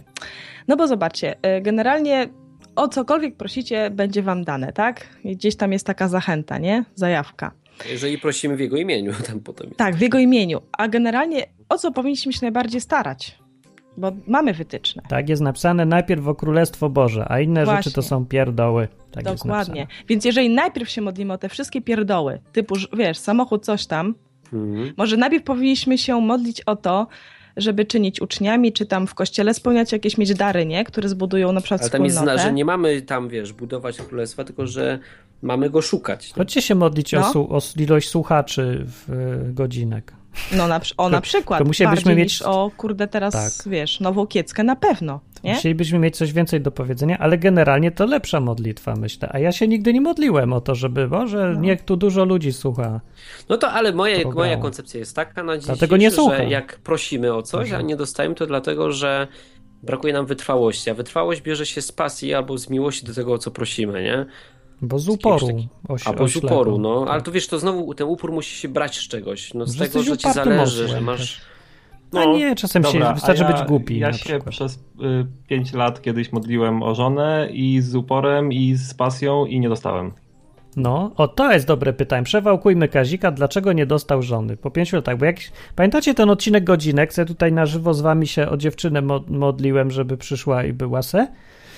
Speaker 2: No bo zobaczcie, y, generalnie o cokolwiek prosicie, będzie wam dane, tak? I gdzieś tam jest taka zachęta, nie? Zajawka.
Speaker 3: Jeżeli prosimy w jego imieniu, tam potem.
Speaker 2: Tak, w jego imieniu. A generalnie o co powinniśmy się najbardziej starać? Bo mamy wytyczne.
Speaker 1: Tak jest napisane najpierw o Królestwo Boże, a inne
Speaker 2: Właśnie.
Speaker 1: rzeczy to są pierdoły. Tak jest
Speaker 2: Dokładnie.
Speaker 1: napisane.
Speaker 2: Więc jeżeli najpierw się modlimy o te wszystkie pierdoły, typu, że, wiesz, samochód, coś tam,
Speaker 3: Mhm.
Speaker 2: może najpierw powinniśmy się modlić o to, żeby czynić uczniami, czy tam w kościele spełniać jakieś, mieć dary, nie? Które zbudują na przykład
Speaker 3: Ale tam jest,
Speaker 2: wspólnotę.
Speaker 3: zna- że nie mamy tam, wiesz, budować królestwa, tylko że mamy go szukać.
Speaker 1: Chodźcie się modlić o,
Speaker 2: No.
Speaker 1: su- o ilość słuchaczy w y, godzinek.
Speaker 2: No na, przy- o, na przykład.
Speaker 1: to musielibyśmy
Speaker 2: bardziej
Speaker 1: mieć-
Speaker 2: niż o kurde teraz,
Speaker 1: Tak.
Speaker 2: wiesz, nową kieckę na pewno, nie?
Speaker 1: Musielibyśmy mieć coś więcej do powiedzenia, ale generalnie to lepsza modlitwa, myślę. A ja się nigdy nie modliłem o to, żeby, Boże,
Speaker 2: No.
Speaker 1: niech tu dużo ludzi słucha.
Speaker 3: No to ale moje,
Speaker 1: Programu.
Speaker 3: moja koncepcja jest taka na dziś,
Speaker 1: Dlatego nie
Speaker 3: że
Speaker 1: słucham.
Speaker 3: jak prosimy o coś, a nie dostajemy, to dlatego, że brakuje nam wytrwałości. A wytrwałość bierze się z pasji albo z miłości do tego, o co prosimy, nie?
Speaker 1: Bo z
Speaker 3: Jakiegoś
Speaker 1: uporu.
Speaker 3: taki-
Speaker 1: oś-
Speaker 3: Albo z
Speaker 1: oślepu.
Speaker 3: uporu, no. Ale to wiesz, to znowu ten upór musi się brać z czegoś. No z
Speaker 1: Że
Speaker 3: tego,
Speaker 1: jesteś
Speaker 3: że ci
Speaker 1: upartym
Speaker 3: zależy, że
Speaker 1: osłem
Speaker 3: masz...
Speaker 1: też.
Speaker 3: No.
Speaker 1: A nie, czasem się
Speaker 7: Dobra,
Speaker 1: wystarczy
Speaker 7: a ja,
Speaker 1: być głupi.
Speaker 7: Ja
Speaker 1: na
Speaker 7: się
Speaker 1: przykład.
Speaker 7: przez y, 5 lat kiedyś modliłem o żonę i z uporem, i z pasją, i nie dostałem.
Speaker 1: No, o to jest dobre pytanie. Przewałkujmy Kazika, dlaczego nie dostał żony po pięciu latach. Bo jak pamiętacie ten odcinek godzinek, co ja tutaj na żywo z wami się o dziewczynę mo- modliłem, żeby przyszła i była se?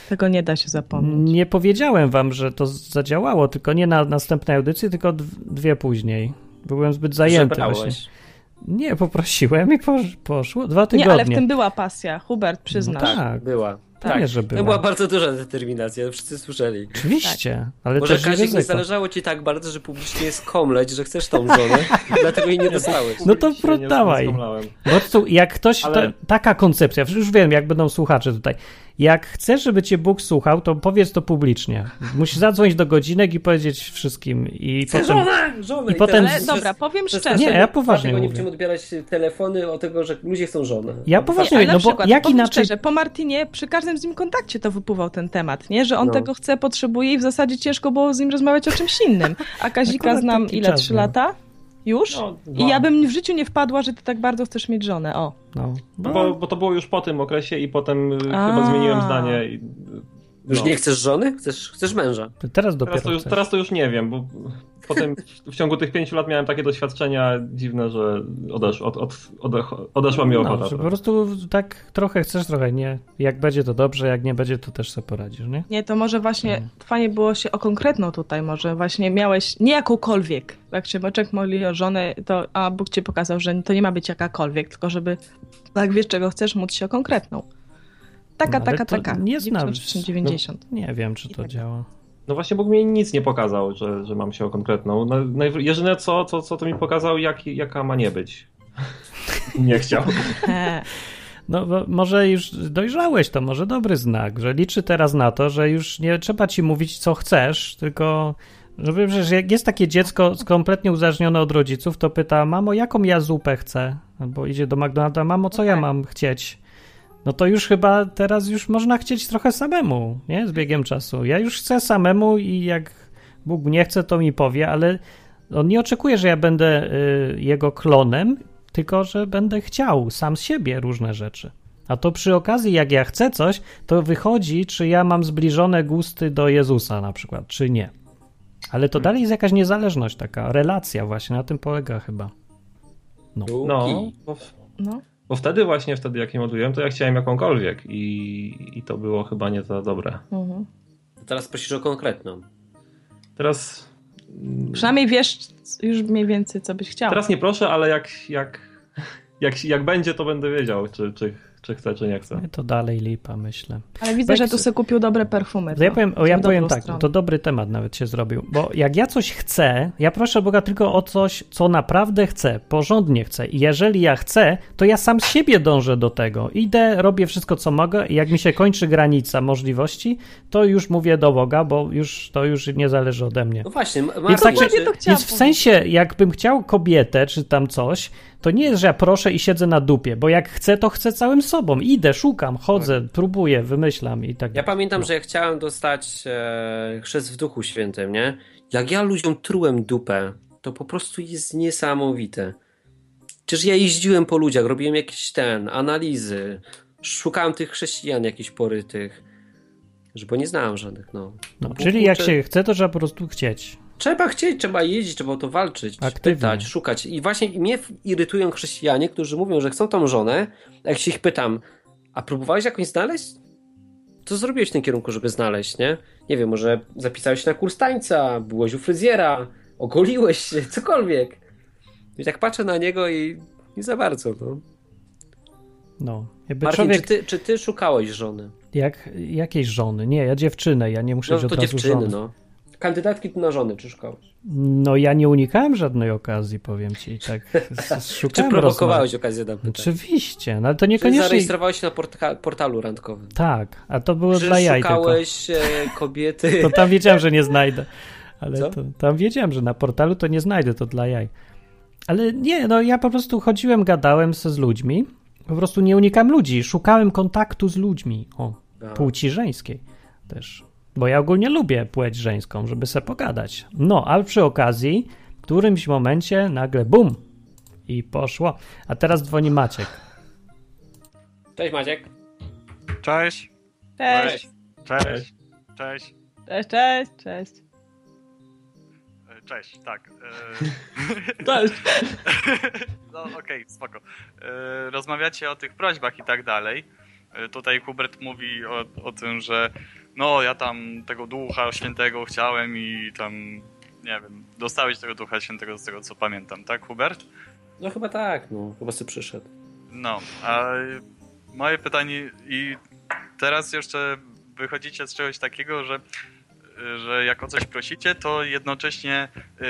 Speaker 2: Tego nie da się zapomnieć.
Speaker 1: Nie powiedziałem wam, że to z- zadziałało, tylko nie na następnej audycji, tylko d- dwie później. Byłem zbyt zajęty
Speaker 3: żebrałeś.
Speaker 1: właśnie. Nie, poprosiłem i posz- poszło. Dwa tygodnie.
Speaker 2: Nie, ale w tym była pasja, Hubert, przyznasz.
Speaker 1: No
Speaker 3: Tak,
Speaker 1: Tak.
Speaker 3: była.
Speaker 1: Pewnie, że była.
Speaker 3: To była bardzo duża determinacja, wszyscy słyszeli. Tak.
Speaker 1: Oczywiście, ale
Speaker 3: Może
Speaker 1: też i
Speaker 3: Kazik nie
Speaker 1: ryzyko.
Speaker 3: zależało ci tak bardzo, że publicznie skomleć, że chcesz tą żonę, dlatego jej nie dostałeś.
Speaker 1: No to
Speaker 7: Dzisiaj nie- nie
Speaker 1: dawaj.
Speaker 7: skomlałem.
Speaker 1: Po prostu jak ktoś.
Speaker 7: Ale-
Speaker 1: Ta, taka koncepcja, już wiem, jak będą słuchacze tutaj. Jak chcesz, żeby cię Bóg słuchał, to powiedz to publicznie. Musisz zadzwonić do godzinek i powiedzieć wszystkim. I potem.
Speaker 3: Żonę, żonę!
Speaker 1: i potem-
Speaker 2: Ale dobra, powiem szczerze.
Speaker 1: Nie, ja poważnie
Speaker 3: Dlatego
Speaker 1: mówię.
Speaker 3: nie będziemy odbierać telefony o tego, że ludzie chcą żonę.
Speaker 1: Ja poważnie,
Speaker 2: ale
Speaker 1: mówię,
Speaker 2: na
Speaker 1: no bo
Speaker 2: przykład,
Speaker 1: jak
Speaker 2: powiem
Speaker 1: inaczej.
Speaker 2: Szczerze, po Martinie przy każdym z nim kontakcie to wypływał ten temat, nie? Że on
Speaker 3: No.
Speaker 2: tego chce, potrzebuje i w zasadzie ciężko było z nim rozmawiać o czymś innym. A Kazika
Speaker 1: Akurat
Speaker 2: znam
Speaker 1: taki
Speaker 2: ile?
Speaker 1: czas
Speaker 2: Trzy
Speaker 1: miał.
Speaker 2: lata? Już?
Speaker 7: No,
Speaker 2: I
Speaker 7: dwa.
Speaker 2: ja bym w życiu nie wpadła, że ty tak bardzo chcesz mieć żonę, o.
Speaker 1: No,
Speaker 7: No, Bo, bo to było już po tym okresie i potem y,
Speaker 2: A.
Speaker 7: chyba zmieniłem zdanie. i-
Speaker 3: Już
Speaker 7: no.
Speaker 3: nie chcesz żony? Chcesz, chcesz męża.
Speaker 1: teraz dopiero.
Speaker 7: Teraz to, już,
Speaker 1: chcesz.
Speaker 7: teraz to już nie wiem, bo potem w- w ciągu tych pięciu lat miałem takie doświadczenia dziwne, że odesz, od, od, odech- odeszła mi
Speaker 1: No, że po
Speaker 7: ochota.
Speaker 1: prostu tak trochę chcesz, trochę nie. Jak będzie to dobrze, jak nie będzie, to też sobie poradzisz, nie?
Speaker 2: Nie, to może właśnie
Speaker 1: Mm.
Speaker 2: fajnie było się o konkretną tutaj, może właśnie miałeś nie jakąkolwiek. Jak się Boczek modli o żonę, to a Bóg ci pokazał, że to nie ma być jakakolwiek, tylko żeby tak wiesz, czego chcesz, móc się o konkretną. Taka,
Speaker 1: No, ale
Speaker 2: taka,
Speaker 1: to
Speaker 2: taka.
Speaker 1: nie znam. No,
Speaker 2: 90.
Speaker 1: Nie wiem, czy
Speaker 2: tak.
Speaker 1: to działa.
Speaker 7: No właśnie Bóg mi nic nie pokazał, że, że mam się o konkretną. No, najw- Jedyne co, co, co to mi pokazał, jak, jaka ma nie być. Nie chciał.
Speaker 2: He.
Speaker 1: No bo może już dojrzałeś, to może dobry znak, że liczy teraz na to, że już nie trzeba ci mówić, co chcesz, tylko żeby, że jak jest takie dziecko z- kompletnie uzależnione od rodziców, to pyta, mamo, jaką ja zupę chcę? Albo idzie do McDonalda, mamo, co ja
Speaker 2: tak.
Speaker 1: mam chcieć? No to już chyba teraz już można chcieć trochę samemu, nie? Z biegiem czasu. Ja już chcę samemu i jak Bóg nie chce, to mi powie, ale on nie oczekuje, że ja będę y, jego klonem, tylko że będę chciał sam z siebie różne rzeczy. A to przy okazji, jak ja chcę coś, to wychodzi, czy ja mam zbliżone gusty do Jezusa na przykład, czy nie. Ale to dalej jest jakaś niezależność taka, relacja właśnie, na tym polega chyba.
Speaker 7: No, bo, w-
Speaker 2: No.
Speaker 7: bo wtedy właśnie, wtedy jak nie modliłem, to ja chciałem jakąkolwiek i, i to było chyba nie za dobre.
Speaker 2: Mhm.
Speaker 3: Teraz prosisz o konkretną.
Speaker 7: Teraz.
Speaker 2: Przynajmniej wiesz już mniej więcej, co byś chciał.
Speaker 7: Teraz nie proszę, ale jak, jak, jak, jak będzie, to będę wiedział, czy, czy, czy chcę, czy nie chcę.
Speaker 1: To dalej lipa, myślę.
Speaker 2: Ale widzę, że tu sobie kupił dobre perfumy.
Speaker 1: To No ja
Speaker 2: to
Speaker 1: powiem, o, ja
Speaker 2: w dobrą
Speaker 1: powiem tak,
Speaker 2: stronę.
Speaker 1: to dobry temat nawet się zrobił, bo jak ja coś chcę, ja proszę Boga tylko o coś, co naprawdę chcę, porządnie chcę. I jeżeli ja chcę, to ja sam z siebie dążę do tego. Idę, robię wszystko, co mogę i jak mi się kończy granica możliwości, to już mówię do Boga, bo już to już nie zależy ode mnie.
Speaker 3: No właśnie, Ma-
Speaker 1: Więc,
Speaker 3: Marcin,
Speaker 1: tak,
Speaker 2: Dokładnie to chciałam
Speaker 1: więc w sensie, jakbym chciał kobietę czy tam coś, to nie jest, że ja proszę i siedzę na dupie, bo jak chcę, to chcę całym sobą. Idę, szukam, chodzę, próbuję, wymyślam i tak
Speaker 3: Ja pamiętam, że ja chciałem dostać e, chrzest w Duchu Świętym, nie? Jak ja ludziom trułem dupę, to po prostu jest niesamowite. Czyż ja jeździłem po ludziach, robiłem jakieś ten, analizy, szukałem tych chrześcijan jakichś porytych, że- bo nie znałem żadnych, no.
Speaker 1: No,
Speaker 3: Bo
Speaker 1: czyli jak
Speaker 3: kurczę,
Speaker 1: się chce, to trzeba po prostu chcieć.
Speaker 3: Trzeba chcieć, trzeba jeździć, trzeba o to walczyć,
Speaker 1: Aktywnie.
Speaker 3: pytać, szukać. I właśnie mnie irytują chrześcijanie, którzy mówią, że chcą tą żonę, a jak się ich pytam, a próbowałeś jakąś znaleźć? Co zrobiłeś w tym kierunku, żeby znaleźć, nie? Nie wiem, może zapisałeś się na kurs tańca, byłeś u fryzjera, ogoliłeś się, cokolwiek. I tak patrzę na niego i nie za bardzo, no.
Speaker 1: No. Jakby
Speaker 3: Marcin,
Speaker 1: człowiek,
Speaker 3: czy, ty, czy ty szukałeś żony?
Speaker 1: jak, jakiejś żony, nie, ja dziewczynę, ja nie muszę
Speaker 3: No
Speaker 1: mieć
Speaker 3: to
Speaker 1: od razu
Speaker 3: dziewczyny,
Speaker 1: żony.
Speaker 3: no. Kandydatki na żony, czy szukałeś?
Speaker 1: No, ja nie unikałem żadnej okazji, powiem ci, i tak s- s-
Speaker 3: Czy
Speaker 1: szukałem
Speaker 3: prowokowałeś
Speaker 1: rozmach.
Speaker 3: okazję do pytań?
Speaker 1: Oczywiście, no ale to
Speaker 3: Czy
Speaker 1: niekoniecznie...
Speaker 3: zarejestrowałeś się na portka- portalu randkowym?
Speaker 1: Tak, a to było
Speaker 3: Czy
Speaker 1: dla jaj tylko.
Speaker 3: szukałeś e, kobiety?
Speaker 1: To tam wiedziałem, że nie znajdę. Ale
Speaker 3: Co?
Speaker 1: to, tam wiedziałem, że na portalu to nie znajdę, to dla jaj. Ale nie, no ja po prostu chodziłem, gadałem se z ludźmi. Po prostu nie unikam ludzi, szukałem kontaktu z ludźmi. O,
Speaker 3: A,
Speaker 1: płci żeńskiej też. Bo ja ogólnie lubię płeć żeńską, żeby se pogadać. No, ale przy okazji w którymś momencie nagle bum i poszło. A teraz dzwoni Maciek.
Speaker 3: Cześć Maciek.
Speaker 10: Cześć.
Speaker 2: Cześć,
Speaker 10: Cześć. Cześć.
Speaker 2: cześć, cześć, cześć.
Speaker 10: E, Cześć, tak. e,
Speaker 2: Cześć.
Speaker 10: No okej, spoko. E, Rozmawiacie o tych prośbach i tak dalej. E, Tutaj Hubert mówi o, o tym, że no ja tam tego ducha świętego chciałem i tam nie wiem, dostałeś tego ducha świętego z tego co pamiętam, tak Hubert?
Speaker 3: No chyba tak, no chyba sobie przyszedł.
Speaker 10: No, a moje pytanie i teraz jeszcze wychodzicie z czegoś takiego, że, że jak o coś prosicie, to jednocześnie y,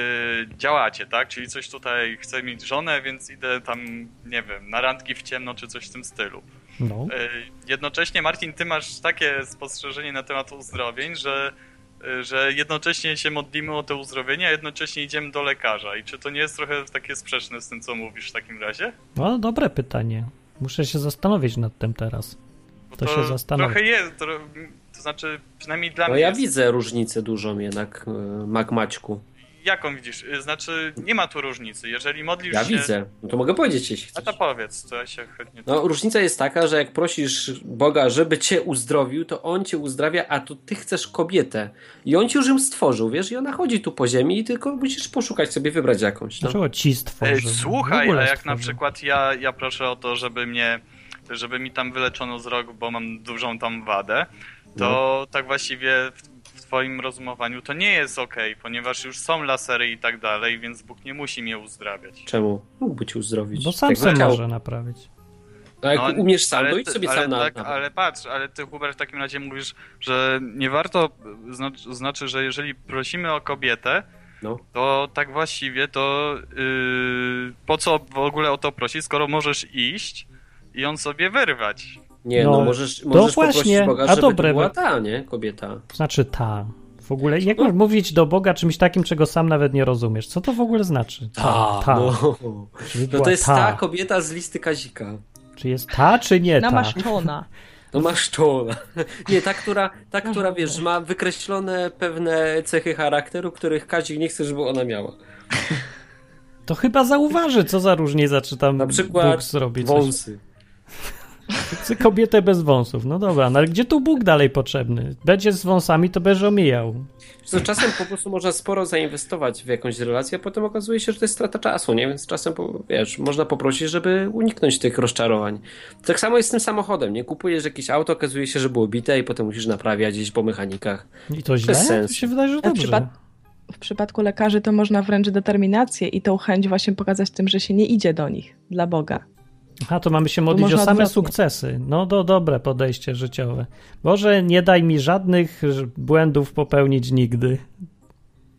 Speaker 10: działacie, tak? Czyli coś tutaj, chcę mieć żonę, więc idę tam, nie wiem, na randki w ciemno czy coś w tym stylu.
Speaker 1: No.
Speaker 10: E, Jednocześnie, Marcin, ty masz takie spostrzeżenie na temat uzdrowień, że, e, że jednocześnie się modlimy o te uzdrowienia, a jednocześnie idziemy do lekarza. I czy to nie jest trochę takie sprzeczne z tym, co mówisz w takim razie?
Speaker 1: No, dobre pytanie. Muszę się zastanowić nad tym teraz.
Speaker 10: Bo
Speaker 1: To się zastanawia.
Speaker 10: Trochę jest, to, to znaczy przynajmniej dla
Speaker 3: No
Speaker 10: mnie.
Speaker 3: ja
Speaker 10: jest,
Speaker 3: widzę różnicę dużą jednak, e, Mac Maćku.
Speaker 10: Jaką widzisz? Y, Znaczy nie ma tu różnicy. Jeżeli modlisz
Speaker 3: Ja
Speaker 10: się.
Speaker 3: widzę. No to mogę powiedzieć, jeśli
Speaker 10: A to
Speaker 3: chcesz.
Speaker 10: powiedz, to ja się chętnie.
Speaker 3: No różnica jest taka, że jak prosisz Boga, żeby cię uzdrowił, to On cię uzdrawia, a to ty chcesz kobietę. I On ci już ją stworzył, wiesz? I ona chodzi tu po ziemi i tylko musisz poszukać sobie, wybrać jakąś. No.
Speaker 1: Dlaczego ci
Speaker 10: Ej,
Speaker 1: stworzył?
Speaker 10: Y, słuchaj,
Speaker 1: W
Speaker 10: a
Speaker 1: ogóle
Speaker 10: jak na
Speaker 1: stworzył.
Speaker 10: przykład ja, ja proszę o to, żeby mnie. żeby mi tam wyleczono wzrok, bo mam dużą tam wadę, to
Speaker 3: No.
Speaker 10: tak właściwie. W, w Twoim rozumowaniu to nie jest okej, ponieważ już są lasery i tak dalej, więc Bóg nie musi mnie uzdrawiać.
Speaker 3: Czemu? Mógłby cię uzdrowić.
Speaker 1: Bo sam
Speaker 3: Tak
Speaker 1: se
Speaker 3: chciał.
Speaker 1: może naprawić.
Speaker 3: A jak
Speaker 10: No,
Speaker 3: umiesz sam, to idź
Speaker 10: ty-
Speaker 3: sobie
Speaker 10: ale
Speaker 3: sam na...
Speaker 10: tak,
Speaker 3: na-
Speaker 10: Ale patrz, ale ty Hubert w takim razie mówisz, że nie warto, znaczy, znaczy że jeżeli prosimy o kobietę,
Speaker 3: No.
Speaker 10: to tak właściwie to yy, po co w ogóle o to prosić, skoro możesz iść i on sobie wyrwać.
Speaker 3: Nie,
Speaker 1: No,
Speaker 3: no, możesz, możesz
Speaker 1: właśnie,
Speaker 3: poprosić Boga,
Speaker 1: a
Speaker 3: żeby
Speaker 1: dobre,
Speaker 3: to była
Speaker 1: bo-
Speaker 3: ta, nie? Kobieta.
Speaker 1: Znaczy ta. W ogóle, jak masz mówić do Boga czymś takim, czego sam nawet nie rozumiesz? Co to w ogóle znaczy? ta.
Speaker 3: No.
Speaker 1: Żeby
Speaker 3: no
Speaker 1: była
Speaker 3: to jest ta.
Speaker 1: ta.
Speaker 3: kobieta z listy Kazika.
Speaker 1: Czy jest ta, czy nie ta?
Speaker 2: Namaszczona.
Speaker 3: No masz czoła. Nie, ta, która, ta, która wiesz, ma wykreślone pewne cechy charakteru, których Kazik nie chce, żeby ona miała.
Speaker 1: To chyba zauważy, co za różnica, czy tam
Speaker 3: Na przykład
Speaker 1: Bóg zrobi coś.
Speaker 3: Wąsy.
Speaker 1: Chcę kobietę bez wąsów. No dobra, no ale gdzie tu Bóg dalej potrzebny? Będzie z wąsami, to będziesz omijał.
Speaker 3: Co, czasem po prostu można sporo zainwestować w jakąś relację, a potem okazuje się, że to jest strata czasu, nie? Więc czasem, po- wiesz, można poprosić, żeby uniknąć tych rozczarowań. Tak samo jest z tym samochodem, nie? Kupujesz jakieś auto, okazuje się, że było bite i potem musisz naprawiać gdzieś po mechanikach.
Speaker 1: I to
Speaker 3: Bez
Speaker 1: źle?
Speaker 3: sensu.
Speaker 1: Mi się wydaje, że
Speaker 2: A w,
Speaker 1: dobrze.
Speaker 2: E, przypad- w przypadku lekarzy to można wręcz determinację i tą chęć właśnie pokazać tym, że się nie idzie do nich dla Boga.
Speaker 1: Aha, to mamy się modlić o
Speaker 2: można
Speaker 1: same
Speaker 2: odwrotnie.
Speaker 1: sukcesy. No to dobre podejście życiowe. Boże, nie daj mi żadnych ż- błędów popełnić nigdy.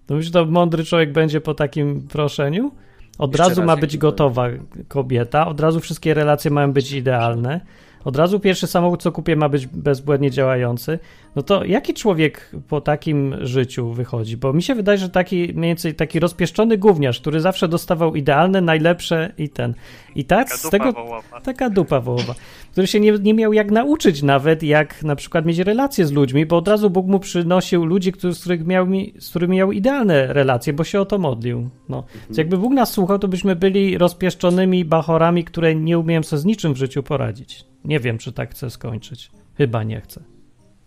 Speaker 1: To myślisz, to mądry człowiek będzie po takim proszeniu? Od
Speaker 3: Jeszcze
Speaker 1: razu
Speaker 3: raz,
Speaker 1: ma
Speaker 3: jak
Speaker 1: być
Speaker 3: to
Speaker 1: gotowa kobieta, od razu wszystkie relacje mają być idealne, od razu pierwszy samochód, co kupię, ma być bezbłędnie działający. No to jaki człowiek po takim życiu wychodzi? Bo mi się wydaje, że taki mniej więcej taki rozpieszczony gówniarz, który zawsze dostawał idealne, najlepsze i ten. I tak
Speaker 10: Taka
Speaker 1: z
Speaker 10: dupa
Speaker 1: tego.
Speaker 10: wołowa.
Speaker 1: Taka dupa wołowa, który się nie, nie miał jak nauczyć nawet, jak na przykład mieć relacje z ludźmi, bo od razu Bóg mu przynosił ludzi, którzy, z, których miał, mi- z którymi miał idealne relacje, bo się o to modlił. No. Więc jakby Bóg nas słuchał, to byśmy byli rozpieszczonymi bachorami, które nie umieją sobie z niczym w życiu poradzić. Nie wiem, czy tak chcę skończyć. Chyba nie chcę.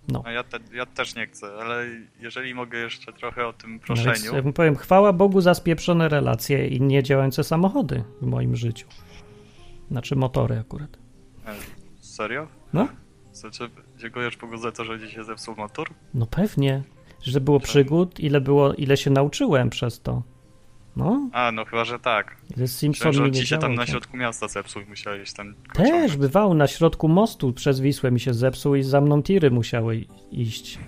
Speaker 10: No, ja, te, ja też nie chcę, ale jeżeli mogę jeszcze trochę o tym
Speaker 1: No więc,
Speaker 10: proszeniu.
Speaker 1: ja bym powiem, chwała Bogu za spieprzone relacje i niedziałające samochody w moim życiu. Znaczy motory akurat.
Speaker 10: E, Serio?
Speaker 1: No.
Speaker 10: Znaczy, dziękujesz Bogu za to, że dzisiaj zepsuł motor?
Speaker 1: No pewnie, że
Speaker 3: Tak.
Speaker 1: było przygód, ile było, ile się nauczyłem przez to. No,
Speaker 10: A, no chyba, że tak.
Speaker 1: The Simpson
Speaker 10: Myślałem,
Speaker 1: mi
Speaker 10: że
Speaker 1: nie
Speaker 10: ci się tam
Speaker 1: działał,
Speaker 10: na
Speaker 1: tak.
Speaker 10: środku miasta zepsuł i musiałeś tam...
Speaker 1: Też bywało na środku mostu przez Wisłę mi się zepsuł i za mną tiry musiały i- iść.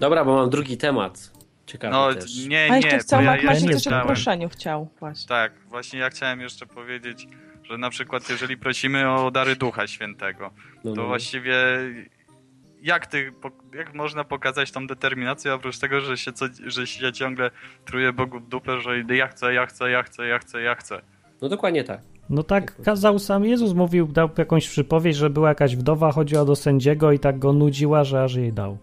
Speaker 3: Dobra, bo mam drugi temat. Ciekawy
Speaker 10: No,
Speaker 3: też.
Speaker 10: nie,
Speaker 2: A
Speaker 10: nie,
Speaker 2: jeszcze chciał
Speaker 10: bo ja
Speaker 2: Mac Maciej
Speaker 10: jeszcze
Speaker 2: coś o
Speaker 10: chciałem-
Speaker 2: proszeniu chciał właśnie.
Speaker 10: Tak, właśnie ja chciałem jeszcze powiedzieć, że na przykład jeżeli prosimy o dary Ducha Świętego,
Speaker 3: No,
Speaker 10: to
Speaker 3: no.
Speaker 10: właściwie jak, ty, po- jak można pokazać tą determinację, oprócz tego, że się, co, że się ciągle truje Bogu w dupę, że ja chcę, ja chcę, ja chcę, ja chcę, ja chcę.
Speaker 3: No dokładnie tak.
Speaker 1: No tak kazał sam Jezus, mówił, dał jakąś przypowieść, że była jakaś wdowa, chodziła do sędziego i tak go nudziła, że aż jej dał.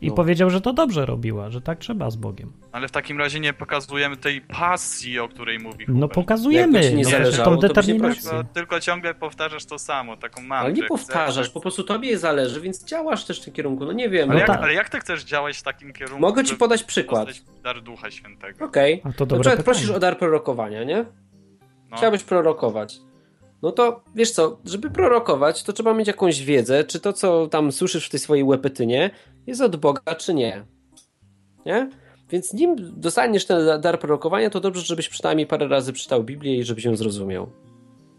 Speaker 1: I
Speaker 3: No.
Speaker 1: powiedział, że to dobrze robiła, że tak trzeba z Bogiem.
Speaker 10: Ale w takim razie nie pokazujemy tej pasji, o której mówi
Speaker 1: No
Speaker 10: Hubert.
Speaker 1: pokazujemy
Speaker 3: Jakby ci nie
Speaker 1: no,
Speaker 3: zależało,
Speaker 1: tą
Speaker 3: to byś nie
Speaker 1: determinację.
Speaker 3: prosiła.
Speaker 10: Tylko, tylko ciągle powtarzasz to samo, taką mam.
Speaker 3: Ale nie
Speaker 10: że
Speaker 3: powtarzasz,
Speaker 10: chcę,
Speaker 3: po prostu tobie zależy, więc działasz też w tym kierunku. No nie wiem.
Speaker 10: Ale,
Speaker 3: no
Speaker 10: jak,
Speaker 1: tak.
Speaker 10: ale jak ty chcesz działać w takim kierunku?
Speaker 3: Mogę ci
Speaker 10: żeby
Speaker 3: podać przykład.
Speaker 10: dostać Dar Ducha Świętego.
Speaker 3: Okej.
Speaker 1: A to
Speaker 3: Na
Speaker 1: dobre
Speaker 3: przykład
Speaker 1: pytanie.
Speaker 3: prosisz o dar prorokowania, nie?
Speaker 10: No.
Speaker 3: Chciałbyś prorokować. No to wiesz co, żeby prorokować, to trzeba mieć jakąś wiedzę, czy to, co tam słyszysz w tej swojej łepetynie, jest od Boga, czy nie. Nie? Więc nim dostaniesz ten dar prorokowania, to dobrze, żebyś przynajmniej parę razy czytał Biblię i żebyś ją zrozumiał.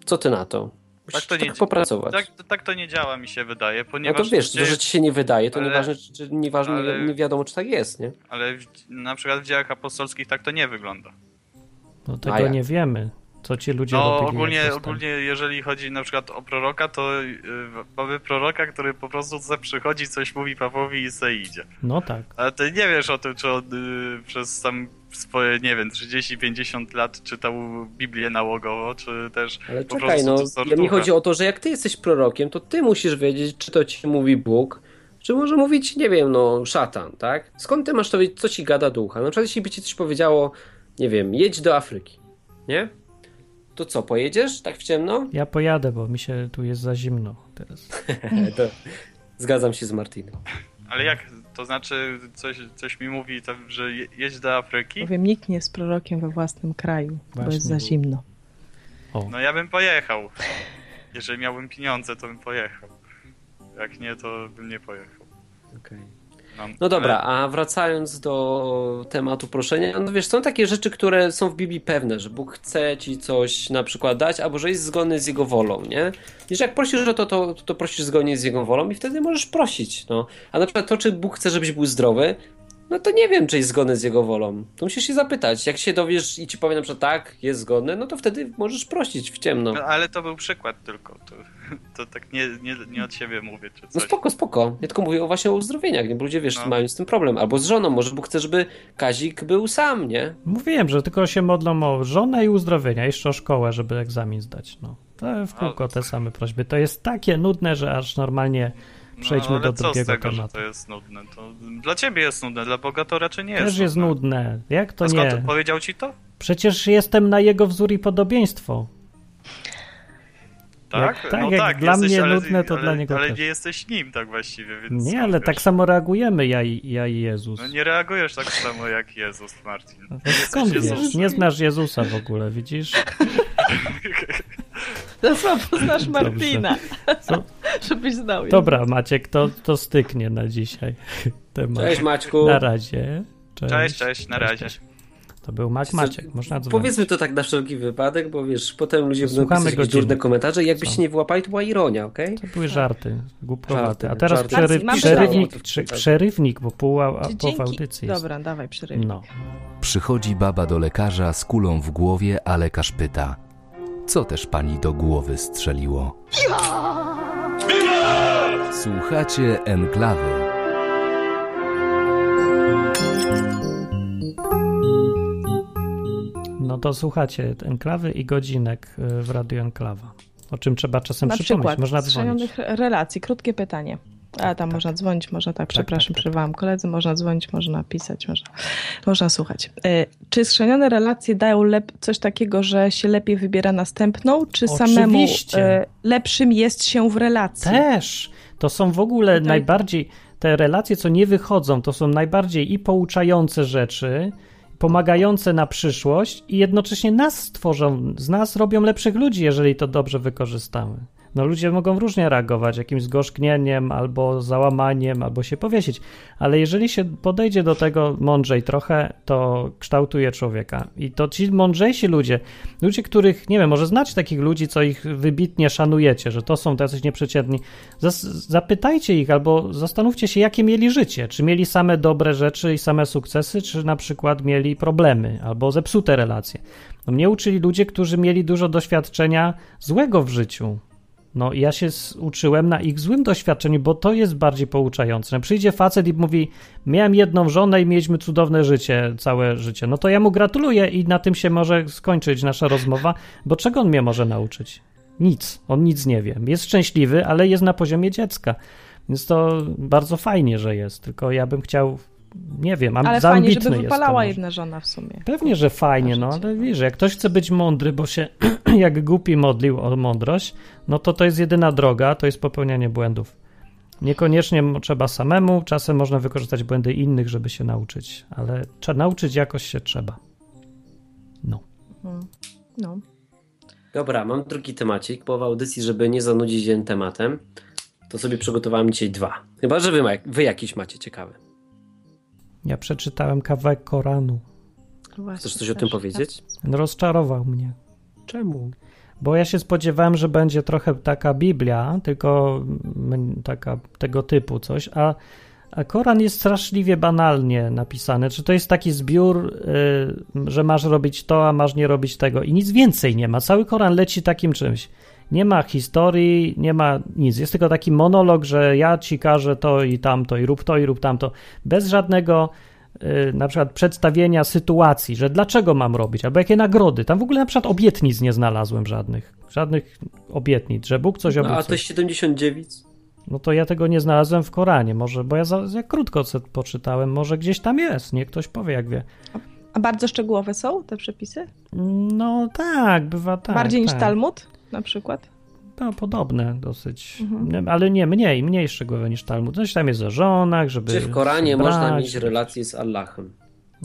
Speaker 3: Co ty na to? Musisz
Speaker 10: to
Speaker 3: tak,
Speaker 10: nie dzia-
Speaker 3: popracować.
Speaker 10: Tak, tak to nie działa, mi się wydaje,
Speaker 3: no
Speaker 10: ponieważ...
Speaker 3: to wiesz, to,
Speaker 10: gdzie-
Speaker 3: że ci się nie wydaje, to
Speaker 10: ale-
Speaker 3: nieważne, czy, czy nieważne,
Speaker 10: ale-
Speaker 3: nie wiadomo, czy tak jest, nie?
Speaker 10: Ale w, na przykład w dziełach apostolskich tak to nie wygląda.
Speaker 1: No
Speaker 3: A
Speaker 1: tego
Speaker 3: jak?
Speaker 1: nie wiemy, co ci ludzie
Speaker 10: No
Speaker 1: robili. jak
Speaker 10: ogólnie,
Speaker 1: zostali.
Speaker 10: ogólnie jeżeli chodzi na przykład o proroka, to y, mamy proroka, który po prostu se przychodzi, coś mówi Pawłowi i se idzie.
Speaker 1: No tak.
Speaker 10: Ale ty nie wiesz o tym, czy on y, przez tam swoje, nie wiem, 30-50 lat czytał Biblię nałogowo, czy też
Speaker 3: Ale
Speaker 10: po
Speaker 3: czekaj,
Speaker 10: prostu
Speaker 3: no,
Speaker 10: to
Speaker 3: ja mi
Speaker 10: serducha.
Speaker 3: chodzi o to, że jak ty jesteś prorokiem, to ty musisz wiedzieć, czy to ci mówi Bóg, czy może mówić, nie wiem, no, szatan, tak? Skąd ty masz to wiedzieć, co ci gada ducha? Na przykład, jeśli by ci coś powiedziało, nie wiem, jedź do Afryki, nie? To co, pojedziesz tak w ciemno?
Speaker 1: Ja pojadę, bo mi się tu jest za zimno teraz.
Speaker 3: to... Zgadzam się z Martinem.
Speaker 10: Ale jak, to znaczy coś, coś mi mówi, tam, że je, jedź do Afryki?
Speaker 2: Powiem, nikt nie jest prorokiem we własnym kraju, bo
Speaker 1: Właśnie.
Speaker 2: jest za zimno.
Speaker 10: No ja bym pojechał. Jeżeli miałbym pieniądze, to bym pojechał. Jak nie, to bym nie pojechał.
Speaker 3: No
Speaker 10: E.
Speaker 3: dobra, a wracając do tematu proszenia, no wiesz, są takie rzeczy, które są w Biblii pewne, że Bóg chce ci coś na przykład dać, albo że jest zgodny z Jego wolą, nie? Wiesz, jak prosisz o to, to, to prosisz zgodnie z Jego wolą i wtedy możesz prosić, no. A na przykład to, czy Bóg chce, żebyś był zdrowy, no to nie wiem, czy jest zgodny z Jego wolą. To musisz się zapytać. Jak się dowiesz i ci powie na przykład tak, jest zgodne, no to wtedy możesz prosić w ciemno.
Speaker 10: No, ale to był przykład tylko. To, to tak nie, nie, nie od siebie mówię czy
Speaker 3: No
Speaker 10: coś.
Speaker 3: spoko, spoko. Ja tylko mówię o właśnie o uzdrowieniach, nie? Bo ludzie, wiesz,
Speaker 10: No.
Speaker 3: mają z tym problem. Albo z żoną, może Bóg chce, żeby Kazik był sam, nie?
Speaker 1: Mówiłem, że tylko się modlą o żonę i uzdrowienia, jeszcze o szkołę, żeby egzamin zdać. No. To w kółko te same prośby. To jest takie nudne, że aż normalnie przejdźmy
Speaker 10: no, ale
Speaker 1: do
Speaker 10: co z
Speaker 1: drugiego
Speaker 10: tego,
Speaker 1: tematu.
Speaker 10: że to jest nudne? To dla ciebie jest nudne, dla Boga to raczej nie jest.
Speaker 1: Też jest nudne. Jak to
Speaker 10: A skąd
Speaker 1: nie?
Speaker 10: powiedział ci to?
Speaker 1: Przecież jestem na jego wzór i podobieństwo.
Speaker 10: Tak?
Speaker 1: Jak, tak,
Speaker 10: no
Speaker 1: jak
Speaker 10: tak,
Speaker 1: dla
Speaker 10: jesteś,
Speaker 1: mnie
Speaker 10: ale,
Speaker 1: nudne, to
Speaker 10: ale,
Speaker 1: dla niego
Speaker 10: Ale
Speaker 1: też.
Speaker 10: nie jesteś nim tak właściwie, więc...
Speaker 1: Nie, ale
Speaker 10: wiesz,
Speaker 1: tak samo reagujemy ja i, ja i Jezus.
Speaker 10: No nie reagujesz tak samo jak Jezus, Martin.
Speaker 1: No Skąd wiesz? Nie znasz Jezusa w ogóle, widzisz?
Speaker 2: Za słabo znasz Martina.
Speaker 1: Co?
Speaker 2: Żebyś znał.
Speaker 1: Dobra, Maciek, to, to styknie na dzisiaj temat.
Speaker 3: Cześć, Maćku.
Speaker 1: Na razie. Cześć,
Speaker 10: Cześć, cześć, na razie.
Speaker 1: To był Mac Maciek, można dzwonić.
Speaker 3: Powiedzmy to tak na wszelki wypadek, bo wiesz, potem ludzie będą
Speaker 1: Słuchamy
Speaker 3: pisać jakieś
Speaker 1: godziny.
Speaker 3: durne komentarze i jakbyście
Speaker 1: Co?
Speaker 3: nie wyłapali, to była ironia, okej?
Speaker 1: To były żarty, głupkowate. A
Speaker 3: Żarty,
Speaker 1: teraz
Speaker 3: żarty.
Speaker 1: przery...
Speaker 3: Racji, mamy
Speaker 1: przerywnik,
Speaker 3: żarty.
Speaker 1: przy... przerywnik, bo pół, a,
Speaker 2: Dzięki.
Speaker 1: połowa audycji jest.
Speaker 2: Dobra, dawaj, przerywnik.
Speaker 1: No.
Speaker 8: Przychodzi baba do lekarza z kulą w głowie, a lekarz pyta: Co też pani do głowy strzeliło? Słuchacie enklawy.
Speaker 1: no to słuchacie enklawy i godzinek y, w Radio Enklawa. O czym trzeba czasem
Speaker 2: Na
Speaker 1: przypomnieć.
Speaker 2: przykład
Speaker 1: można dzwonić.
Speaker 2: strzelonych relacji, krótkie pytanie. A tam można dzwonić, można tak, przepraszam, przerwałam koledzy, można dzwonić, można pisać, można, można słuchać. E, Czy schrzenione relacje dają lep- coś takiego, że się lepiej wybiera następną, czy samemu
Speaker 1: Oczywiście.
Speaker 2: e, lepszym jest się w relacji?
Speaker 1: Też. To są w ogóle najbardziej, te relacje, co nie wychodzą, to są najbardziej i pouczające rzeczy, pomagające na przyszłość i jednocześnie nas stworzą, z nas robią lepszych ludzi, jeżeli to dobrze wykorzystamy. No ludzie mogą różnie reagować, jakimś zgorzknieniem, albo załamaniem, albo się powiesić, ale jeżeli się podejdzie do tego mądrzej trochę, to kształtuje człowieka. I to ci mądrzejsi ludzie, ludzie, których, nie wiem, może znacie takich ludzi, co ich wybitnie szanujecie, że to są tacy nieprzeciętni, Zas- zapytajcie ich albo zastanówcie się, jakie mieli życie. Czy mieli same dobre rzeczy i same sukcesy, czy na przykład mieli problemy albo zepsute relacje. No, mnie uczyli ludzie, którzy mieli dużo doświadczenia złego w życiu. No i ja się s- uczyłem na ich złym doświadczeniu, bo to jest bardziej pouczające. No, Przyjdzie facet i mówi, miałem jedną żonę i mieliśmy cudowne życie, całe życie. No to ja mu gratuluję i na tym się może skończyć nasza rozmowa, bo czego on mnie może nauczyć? Nic, on nic nie wie. Jest szczęśliwy, ale jest na poziomie dziecka. Więc to bardzo fajnie, że jest, tylko ja bym chciał, nie wiem, am-
Speaker 2: Ale
Speaker 1: za
Speaker 2: fajnie,
Speaker 1: ambitny
Speaker 2: żeby
Speaker 1: jestem.
Speaker 2: wypalała
Speaker 1: może.
Speaker 2: jedna żona w sumie.
Speaker 1: Pewnie, że fajnie, no ale wiesz, jak ktoś chce być mądry, bo się jak głupi modlił o mądrość, no to to jest jedyna droga, to jest popełnianie błędów. Niekoniecznie m- trzeba samemu, czasem można wykorzystać błędy innych, żeby się nauczyć, ale trzeba nauczyć jakoś się trzeba.
Speaker 2: Mhm. No.
Speaker 3: Dobra, mam drugi temacik, bo w audycji, żeby nie zanudzić jeden tematem, to sobie przygotowałem dzisiaj dwa. Chyba, że wy, ma, wy jakiś macie ciekawy.
Speaker 1: Ja przeczytałem kawałek Koranu.
Speaker 2: Właśnie,
Speaker 3: Chcesz coś o tym
Speaker 2: tak.
Speaker 3: powiedzieć?
Speaker 1: No, Rozczarował mnie.
Speaker 3: Czemu?
Speaker 1: Bo ja się spodziewałem, że będzie trochę taka Biblia, tylko mm, taka tego typu coś, a, a Koran jest straszliwie banalnie napisany. Czy to jest taki zbiór, y, że masz robić to, a masz nie robić tego i nic więcej nie ma. Cały Koran leci takim czymś. Nie ma historii, nie ma nic. Jest tylko taki monolog, że ja ci każę to i tamto, i rób to, i rób tamto. Bez żadnego y, na przykład przedstawienia sytuacji, że dlaczego mam robić, albo jakie nagrody. Tam w ogóle na przykład obietnic nie znalazłem żadnych. Żadnych obietnic, że Bóg coś
Speaker 3: No, a to
Speaker 1: obiecuje.
Speaker 3: 79?
Speaker 1: No to ja tego nie znalazłem w Koranie, może, bo ja za, za krótko se poczytałem, może gdzieś tam jest, nie ktoś powie, jak wie.
Speaker 2: A bardzo szczegółowe są te przepisy?
Speaker 1: No tak, bywa tak.
Speaker 2: Bardziej
Speaker 1: tak.
Speaker 2: niż Talmud na przykład?
Speaker 1: No, podobne dosyć,
Speaker 2: Mhm.
Speaker 1: Nie, ale nie, mniej, mniej szczegółowe niż Talmud. Coś tam jest o żonach, żeby...
Speaker 3: Czy w Koranie
Speaker 1: brać.
Speaker 3: można mieć relacje z Allahem?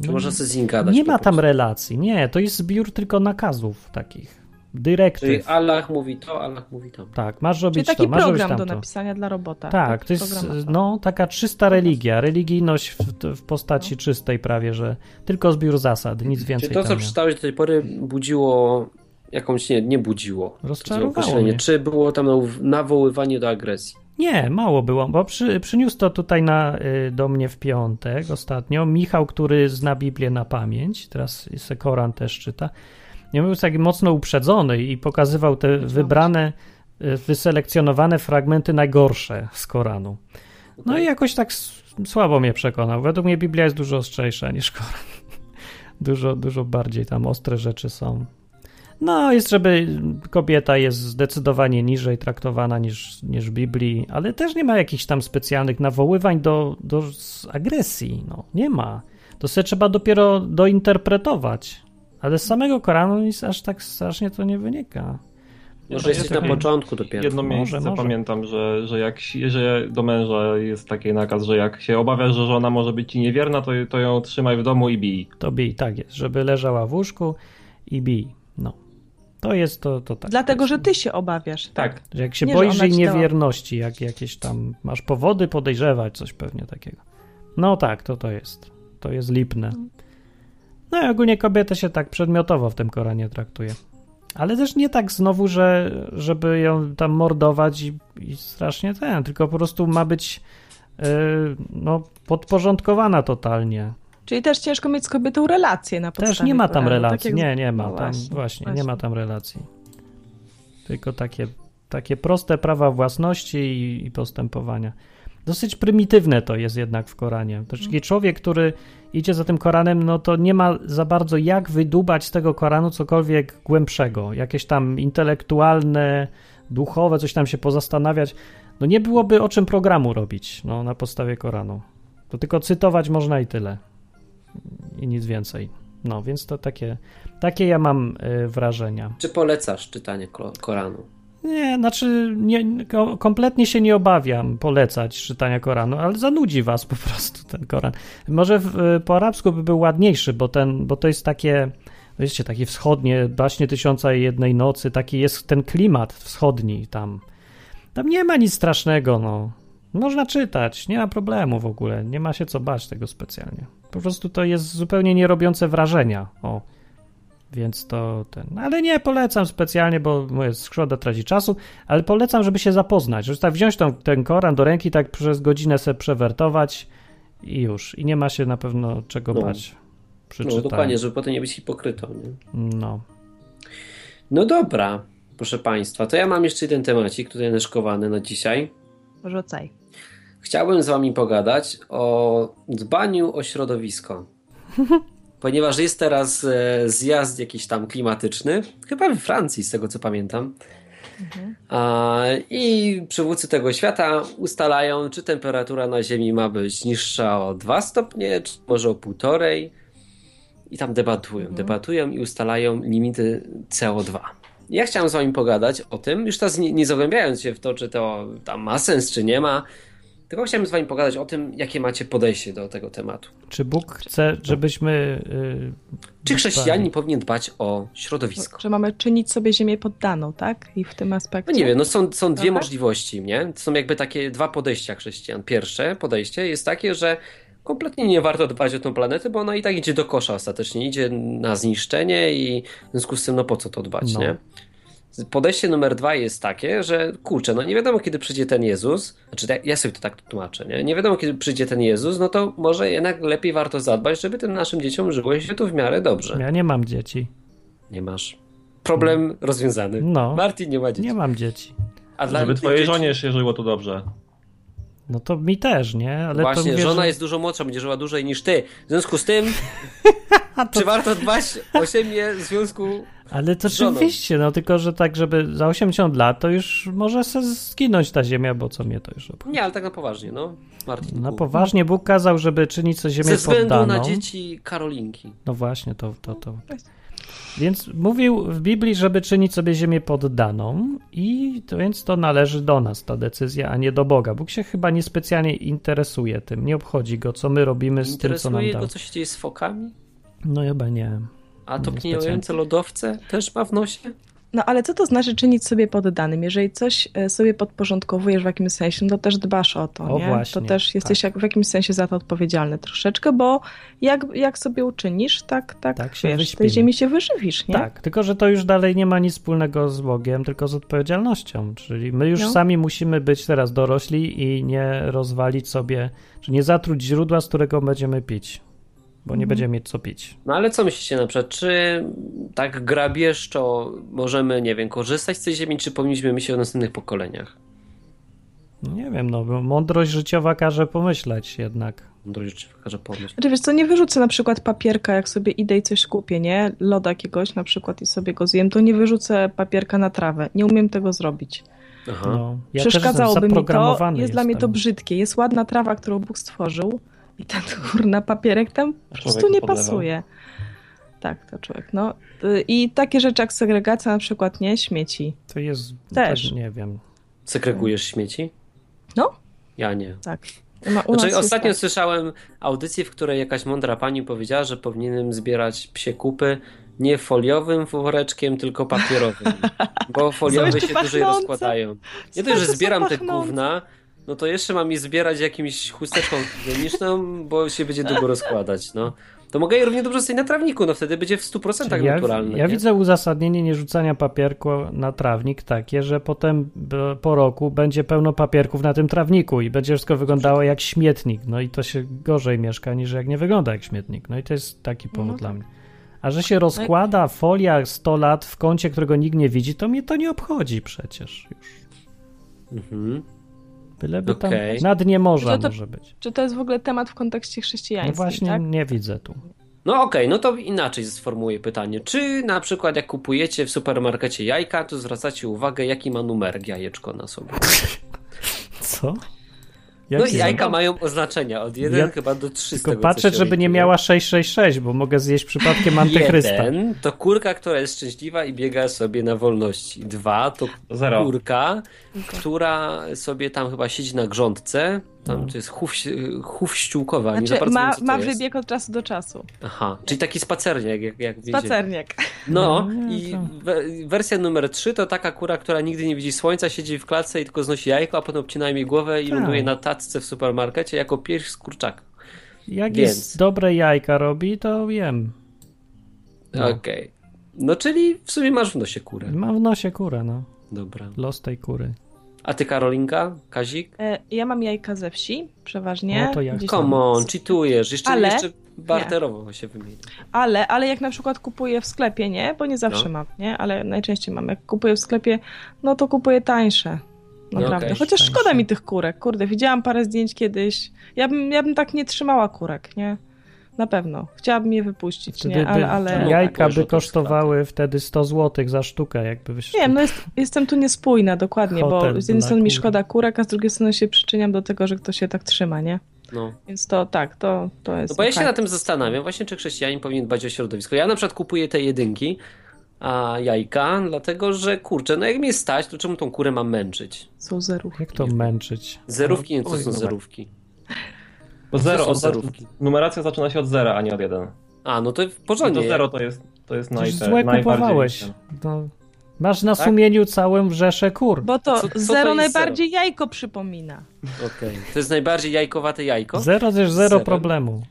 Speaker 3: Czy
Speaker 1: No,
Speaker 3: można sobie z nim gadać?
Speaker 1: Nie ma
Speaker 3: po prostu?
Speaker 1: tam relacji, nie, to jest zbiór tylko nakazów takich, dyrektyw.
Speaker 3: Czyli Allah mówi to, Allah mówi to.
Speaker 1: Tak, masz
Speaker 2: Czyli
Speaker 1: robić
Speaker 2: taki
Speaker 1: to, masz robić
Speaker 2: program
Speaker 1: tamto.
Speaker 2: do napisania dla robota.
Speaker 1: Tak,
Speaker 2: Taki
Speaker 1: to jest
Speaker 2: program.
Speaker 1: no, taka czysta religia, religijność w, w
Speaker 2: No.
Speaker 1: postaci czystej prawie, że tylko zbiór zasad, nic więcej
Speaker 3: Czy to, co
Speaker 1: tam nie.
Speaker 3: przeczytałeś do tej pory, budziło jakąś, nie, nie budziło.
Speaker 1: Rozczarowało
Speaker 3: Takie określenie.
Speaker 1: mnie.
Speaker 3: Czy było tam naw- nawoływanie do agresji?
Speaker 1: Nie, mało było, bo przy, przyniósł to tutaj na, y, do mnie w piątek ostatnio Michał, który zna Biblię na pamięć, teraz se Koran też czyta. Nie był taki mocno uprzedzony i pokazywał te wybrane, y, wyselekcjonowane fragmenty najgorsze z Koranu. No i jakoś tak s- słabo mnie przekonał. Według mnie Biblia jest dużo ostrzejsza niż Koran. Dużo, dużo bardziej tam ostre rzeczy są. No, jest, żeby kobieta jest zdecydowanie niżej traktowana niż, niż w Biblii, ale też nie ma jakichś tam specjalnych nawoływań do, do s- agresji. No, nie ma. To sobie trzeba dopiero dointerpretować. Ale z samego Koranu nic aż tak strasznie to nie wynika.
Speaker 3: Może jesteś na początku dopiero.
Speaker 7: Jedno miejsce pamiętam, że, że jak si- że do męża jest taki nakaz, że jak się obawiasz, że żona może być ci niewierna, to, to ją trzymaj w domu i bij.
Speaker 1: To bij, tak jest, żeby leżała w łóżku i bij. No. To jest to, to tak.
Speaker 2: Dlatego, że ty się obawiasz.
Speaker 7: Tak.
Speaker 1: Że jak się
Speaker 2: Nie, że
Speaker 1: boisz
Speaker 2: ona
Speaker 1: jej
Speaker 2: ci dała.
Speaker 1: niewierności, jak jakieś tam masz powody podejrzewać coś pewnie takiego. No tak, to to jest. To jest lipne. No i ogólnie kobietę się tak przedmiotowo w tym Koranie traktuje. Ale też nie tak znowu, że żeby ją tam mordować i, i strasznie ten, tylko po prostu ma być yy, no, podporządkowana totalnie.
Speaker 2: Czyli też ciężko mieć z kobietą relację na podstawie
Speaker 1: Też nie ma tam
Speaker 2: Koranu, tak
Speaker 1: relacji.
Speaker 2: jak-
Speaker 1: Nie, nie ma.
Speaker 2: No
Speaker 1: Tam, właśnie, nie
Speaker 2: właśnie.
Speaker 1: ma tam relacji. Tylko takie, takie proste prawa własności i, i postępowania. Dosyć prymitywne to jest jednak w Koranie. To Taki człowiek, który idzie za tym Koranem, no to nie ma za bardzo jak wydubać z tego Koranu cokolwiek głębszego. Jakieś tam intelektualne, duchowe, coś tam się pozastanawiać. No nie byłoby o czym programu robić no, na podstawie Koranu. To tylko cytować można i tyle. I nic więcej. No, więc to takie, takie ja mam y, wrażenia.
Speaker 3: Czy polecasz czytanie ko- Koranu? No,
Speaker 1: Nie, znaczy nie, ko- kompletnie się nie obawiam polecać czytania Koranu, ale zanudzi was po prostu ten Koran. Może w, po arabsku by był ładniejszy, bo, ten, bo to jest takie, no wiecie, takie wschodnie, baśnie Tysiąca i Jednej Nocy, taki jest ten klimat wschodni tam. Tam nie ma nic strasznego, no. Można czytać, nie ma problemu w ogóle, nie ma się co bać tego specjalnie. Po prostu to jest zupełnie nierobiące wrażenia, o. Więc to ten. Ale nie polecam specjalnie, bo moja szkoda traci czasu, ale polecam, żeby się zapoznać. Żeby tak wziąć tą, ten koran do ręki, tak przez godzinę se przewertować i już. I nie ma się na pewno czego
Speaker 3: No.
Speaker 1: bać przy
Speaker 3: No
Speaker 1: czytaniu.
Speaker 3: dokładnie, żeby potem nie być hipokrytą. Nie?
Speaker 1: No.
Speaker 3: No dobra, proszę Państwa, to ja mam jeszcze jeden temacik tutaj naszkowany na dzisiaj.
Speaker 2: Rzucaj.
Speaker 3: Chciałbym z Wami pogadać o dbaniu o środowisko. Ponieważ jest teraz e, zjazd jakiś tam klimatyczny, chyba we Francji, z tego co pamiętam. A, I przywódcy tego świata ustalają, czy temperatura na Ziemi ma być niższa o 2 stopnie, czy może o półtorej. I tam debatują, debatują i ustalają limity CO2. Ja chciałem z wami pogadać o tym, już teraz nie, nie zagłębiając się w to, czy to tam ma sens, czy nie ma, tylko chciałem z wami pogadać o tym, jakie macie podejście do tego tematu.
Speaker 1: Czy Bóg chce, żebyśmy. y,
Speaker 3: Czy chrześcijanin powinien dbać o środowisko?
Speaker 2: Że mamy czynić sobie ziemię poddaną, tak? I w tym aspekcie.
Speaker 3: No nie wiem, no są, są dwie
Speaker 2: Aha.
Speaker 3: możliwości, nie? Są jakby takie dwa podejścia chrześcijan. Pierwsze podejście jest takie, że kompletnie nie warto dbać o tą planetę, bo ona i tak idzie do kosza ostatecznie, idzie na zniszczenie i w związku z tym, no po co to dbać,
Speaker 1: No.
Speaker 3: nie? Podejście numer dwa jest takie, że kurczę, no nie wiadomo kiedy przyjdzie ten Jezus, znaczy ja- ja sobie to tak tłumaczę, nie? Nie wiadomo kiedy przyjdzie ten Jezus, no to może jednak lepiej warto zadbać, żeby tym naszym dzieciom żyło się tu w miarę dobrze.
Speaker 1: Ja nie mam dzieci.
Speaker 3: Nie masz. Problem rozwiązany.
Speaker 1: No.
Speaker 3: Martin nie ma dzieci.
Speaker 1: Nie mam dzieci.
Speaker 3: A dla
Speaker 7: Żeby
Speaker 3: innych
Speaker 7: twojej
Speaker 3: dzieci-
Speaker 7: żonie się żyło to dobrze.
Speaker 1: No to mi też, nie? Ale
Speaker 3: Właśnie,
Speaker 1: to mówię,
Speaker 3: żona
Speaker 1: że-
Speaker 3: jest dużo młodsza, będzie żyła dłużej niż ty. W związku z tym, czy warto dbać o siebie w związku...
Speaker 1: Ale to
Speaker 3: z żoną.
Speaker 1: oczywiście, no tylko, że tak, żeby za 80 lat to już może se zginąć ta ziemia, bo co mnie to już obchodzi.
Speaker 3: Nie, ale tak na poważnie, no. Martin,
Speaker 1: Na
Speaker 3: Bóg.
Speaker 1: poważnie Bóg kazał, żeby czynić co ziemię
Speaker 3: Ze względu
Speaker 1: poddaną.
Speaker 3: na dzieci Karolinki.
Speaker 1: No właśnie, to, to, to. Więc mówił w Biblii, żeby czynić sobie ziemię poddaną i to, więc to należy do nas ta decyzja, a nie do Boga. Bóg się chyba niespecjalnie interesuje tym, nie obchodzi go, co my robimy z tym, co nam
Speaker 3: Interesuje
Speaker 1: dał.
Speaker 3: go, co się dzieje z fokami?
Speaker 1: No chyba nie.
Speaker 3: A topniejące
Speaker 1: Niespecjalnie.
Speaker 3: lodowce też ma w nosie?
Speaker 2: No ale co to znaczy czynić sobie poddanym? Jeżeli coś e, sobie podporządkowujesz w jakimś sensie, no to też dbasz o to,
Speaker 1: O,
Speaker 2: nie?
Speaker 1: właśnie, Tak.
Speaker 2: to też jesteś jak, w jakimś sensie za to odpowiedzialny troszeczkę, bo jak, jak sobie uczynisz, tak, tak,
Speaker 1: Tak się
Speaker 2: wiesz,
Speaker 1: wyśpimy.
Speaker 2: tej ziemi się wyżywisz, nie?
Speaker 1: Tak, tylko że to już dalej nie ma nic wspólnego z Bogiem, tylko z odpowiedzialnością. Czyli my już
Speaker 2: No.
Speaker 1: sami musimy być teraz dorośli i nie rozwalić sobie, czy nie zatruć źródła, z którego będziemy pić, bo nie będziemy mieć co pić.
Speaker 3: No ale co myślicie na przykład, czy tak grabieszczo możemy, nie wiem, korzystać z tej ziemi, czy powinniśmy myśleć o następnych pokoleniach?
Speaker 1: No Nie wiem, no bo mądrość życiowa każe pomyśleć jednak.
Speaker 3: Mądrość czy pokażę pomysł.
Speaker 2: Znaczy wiesz co, nie wyrzucę na przykład papierka, jak sobie idę i coś kupię, nie? Loda jakiegoś na przykład i sobie go zjem, to nie wyrzucę papierka na trawę. Nie umiem tego zrobić.
Speaker 3: Aha.
Speaker 1: No, ja też
Speaker 2: Przeszkadzałoby mi to,
Speaker 1: zaprogramowany
Speaker 2: jest dla mnie to
Speaker 1: jestem.
Speaker 2: brzydkie. Jest ładna trawa, którą Bóg stworzył i ten kurna papierek tam po prostu
Speaker 7: Człowieku
Speaker 2: nie
Speaker 7: podlewał.
Speaker 2: pasuje. Tak, to człowiek. No y, i takie rzeczy jak segregacja na przykład, nie? Śmieci.
Speaker 1: To jest tak,
Speaker 2: Też.
Speaker 1: No, też nie wiem.
Speaker 3: Segregujesz śmieci?
Speaker 2: No.
Speaker 3: Ja nie.
Speaker 2: Tak. Ma, u nas
Speaker 3: Znaczy,
Speaker 2: jest
Speaker 3: ostatnio
Speaker 2: tak.
Speaker 3: słyszałem audycję, w której jakaś mądra pani powiedziała, że powinienem zbierać psie kupy nie foliowym woreczkiem, tylko papierowym. Bo foliowe
Speaker 2: jeszcze
Speaker 3: się dłużej
Speaker 2: pachnące.
Speaker 3: rozkładają.
Speaker 2: Są
Speaker 3: Nie dość, że
Speaker 2: to są
Speaker 3: zbieram te
Speaker 2: pachnące.
Speaker 3: gówna, no to jeszcze mam je zbierać jakimś chusteczką higieniczną, bo się będzie długo rozkładać. No. To mogę je równie dobrze stać na trawniku, no wtedy będzie w 100%
Speaker 1: ja,
Speaker 3: naturalne.
Speaker 1: ja
Speaker 3: nie?
Speaker 1: widzę uzasadnienie nierzucania papierku na trawnik takie, że potem b- po roku będzie pełno papierków na tym trawniku i będzie wszystko wyglądało jak śmietnik. No i to się gorzej mieszka niż jak nie wygląda jak śmietnik. No i to jest taki powód
Speaker 3: tak.
Speaker 1: dla mnie. A że się rozkłada folia 100 lat w kącie, którego nikt nie widzi, to mnie to nie obchodzi przecież już.
Speaker 3: Mhm.
Speaker 1: Byleby tam
Speaker 3: Okej. No
Speaker 1: na dnie morza
Speaker 2: Czy to-
Speaker 1: może być.
Speaker 2: Czy to jest w ogóle temat w kontekście
Speaker 1: No
Speaker 2: chrześcijańskim,
Speaker 1: właśnie
Speaker 2: tak?
Speaker 1: nie widzę tu.
Speaker 3: No okej, no to inaczej sformułuję pytanie. Czy na przykład jak kupujecie w supermarkecie jajka, to zwracacie uwagę, jaki ma numerek jajeczko na sobie?
Speaker 1: Co?
Speaker 3: No
Speaker 1: Jaki
Speaker 3: i jajka
Speaker 1: numer?
Speaker 3: mają oznaczenia od 1
Speaker 1: Ja
Speaker 3: chyba do 3. z
Speaker 1: Tylko
Speaker 3: tego, co
Speaker 1: patrzę,
Speaker 3: się
Speaker 1: żeby nie
Speaker 3: orientuję.
Speaker 1: miała 666, bo mogę zjeść przypadkiem antychrysta.
Speaker 3: Jeden to kurka, która jest szczęśliwa i biega sobie na wolności. Dwa to
Speaker 7: Zero.
Speaker 3: kurka, która sobie tam chyba siedzi na grządce.
Speaker 1: No.
Speaker 3: Tam to jest chów, chów ściółkowa. nie za
Speaker 2: Znaczy,
Speaker 3: bardzo
Speaker 2: ma,
Speaker 3: wiem, co to
Speaker 2: ma
Speaker 3: jest.
Speaker 2: wybieg od czasu do czasu.
Speaker 3: Aha, czyli taki spacerniak, jak, jak wiecie.
Speaker 2: Spacerniak.
Speaker 3: No,
Speaker 1: No, nie,
Speaker 3: i
Speaker 1: to-
Speaker 3: we- wersja numer 3 to taka kura, która nigdy nie widzi słońca, siedzi w klatce i tylko znosi jajko, a potem obcina mi głowę i
Speaker 1: Tak.
Speaker 3: ląduje na tacce w supermarkecie jako pierś z kurczaka.
Speaker 1: Jak
Speaker 3: Więc.
Speaker 1: jest dobre jajka robi, to jem. No.
Speaker 3: Okej. No, czyli w sumie masz w nosie kurę.
Speaker 1: Mam w nosie kurę, no.
Speaker 3: Dobra.
Speaker 1: Los tej kury.
Speaker 3: A ty Karolinka? Kazik?
Speaker 2: E, Ja mam jajka ze wsi, przeważnie.
Speaker 1: No to jak
Speaker 2: Gdzieś tam
Speaker 3: Come on, cheatujesz. Jeszcze,
Speaker 2: Ale-
Speaker 3: jeszcze barterowo się wymieni.
Speaker 2: Ale, ale jak na przykład kupuję w sklepie, nie? Bo nie zawsze
Speaker 3: No.
Speaker 2: mam, nie? Ale najczęściej mam. Jak kupuję w sklepie, no to kupuję tańsze.
Speaker 3: No
Speaker 2: Naprawdę.
Speaker 3: okej,
Speaker 2: Chociaż
Speaker 1: tańsze.
Speaker 2: szkoda mi tych kurek. Kurde, widziałam parę zdjęć kiedyś. Ja bym, ja bym tak nie trzymała kurek, nie? Na pewno. Chciałabym je wypuścić,
Speaker 1: Wtedy
Speaker 2: nie?
Speaker 1: by,
Speaker 2: Ale, ale...
Speaker 3: No,
Speaker 1: jajka
Speaker 3: tak,
Speaker 1: by
Speaker 3: wiesz,
Speaker 1: kosztowały wtedy 100 zł za sztukę, jakby wiesz,
Speaker 2: Nie wiem, no jest, jestem tu niespójna dokładnie,
Speaker 1: Hotel
Speaker 2: bo z jednej
Speaker 1: dla
Speaker 2: strony mi
Speaker 1: kur.
Speaker 2: szkoda kurek, a z drugiej strony się przyczyniam do tego, że ktoś się tak trzyma, nie?
Speaker 3: No.
Speaker 2: Więc to tak, to, to jest.
Speaker 3: No bo ja się
Speaker 2: tak.
Speaker 3: na tym zastanawiam, właśnie czy chrześcijanin powinien dbać o środowisko. Ja na przykład kupuję te jedynki, a jajka, dlatego że kurczę, no jak mnie stać, to czemu tą kurę mam męczyć?
Speaker 2: Są zeruchy.
Speaker 1: jak to męczyć.
Speaker 3: Zerówki, nie, co
Speaker 7: Oj,
Speaker 3: są
Speaker 7: numer.
Speaker 3: zerówki?
Speaker 7: Bo
Speaker 3: To
Speaker 7: zero,
Speaker 3: są
Speaker 7: od,
Speaker 3: zerówki.
Speaker 7: numeracja zaczyna się od zera, a nie od jeden.
Speaker 3: A, no to w
Speaker 7: To
Speaker 3: porządku.
Speaker 7: zero to jest, to jest naj,
Speaker 1: Coś złe
Speaker 7: najbardziej-
Speaker 1: kupowałeś. No. Masz
Speaker 3: Tak?
Speaker 1: na sumieniu całą rzeszę kur.
Speaker 2: Bo to
Speaker 3: Co- co to
Speaker 2: zero
Speaker 3: jest
Speaker 2: najbardziej jajko przypomina.
Speaker 3: Okej. To jest najbardziej jajkowate jajko.
Speaker 1: Zero też
Speaker 3: Zero.
Speaker 1: zero problemu.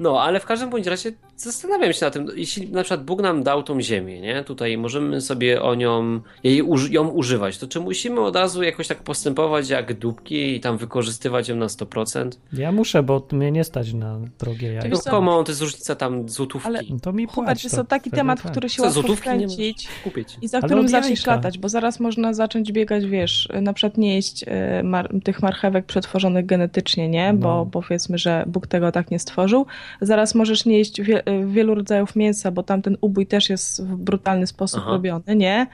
Speaker 3: No, ale w każdym bądź razie zastanawiam się na tym, jeśli na przykład Bóg nam dał tą ziemię, nie? Tutaj możemy sobie o nią, jej, uż- ją używać, to czy musimy od razu jakoś tak postępować jak dupki i tam wykorzystywać ją na 100%?
Speaker 1: Ja muszę, bo mnie nie stać na drogie
Speaker 3: No
Speaker 1: jajko.
Speaker 2: Wiesz co?
Speaker 3: komu to jest różnica tam złotówki.
Speaker 2: Ale-
Speaker 1: Tak. No To mi
Speaker 2: Hubert,
Speaker 1: płać.
Speaker 2: jest
Speaker 1: to
Speaker 2: to taki
Speaker 1: wtedy
Speaker 2: temat, w
Speaker 1: tak.
Speaker 2: który się
Speaker 3: Co,
Speaker 2: łatwo
Speaker 3: złotówki nie
Speaker 2: wkręcić
Speaker 3: możesz kupić?
Speaker 2: i za
Speaker 1: Ale tak.
Speaker 2: którym
Speaker 1: od
Speaker 2: zaczniesz
Speaker 1: jajka.
Speaker 2: latać, bo zaraz można zacząć biegać, wiesz, na przykład nie jeść e, mar tych marchewek przetworzonych genetycznie, nie?
Speaker 1: No.
Speaker 2: Bo bo powiedzmy, że Bóg tego tak nie stworzył. Zaraz możesz nie jeść wie e, wielu rodzajów mięsa, bo tamten ubój też jest w brutalny sposób
Speaker 3: Aha.
Speaker 2: robiony, nie?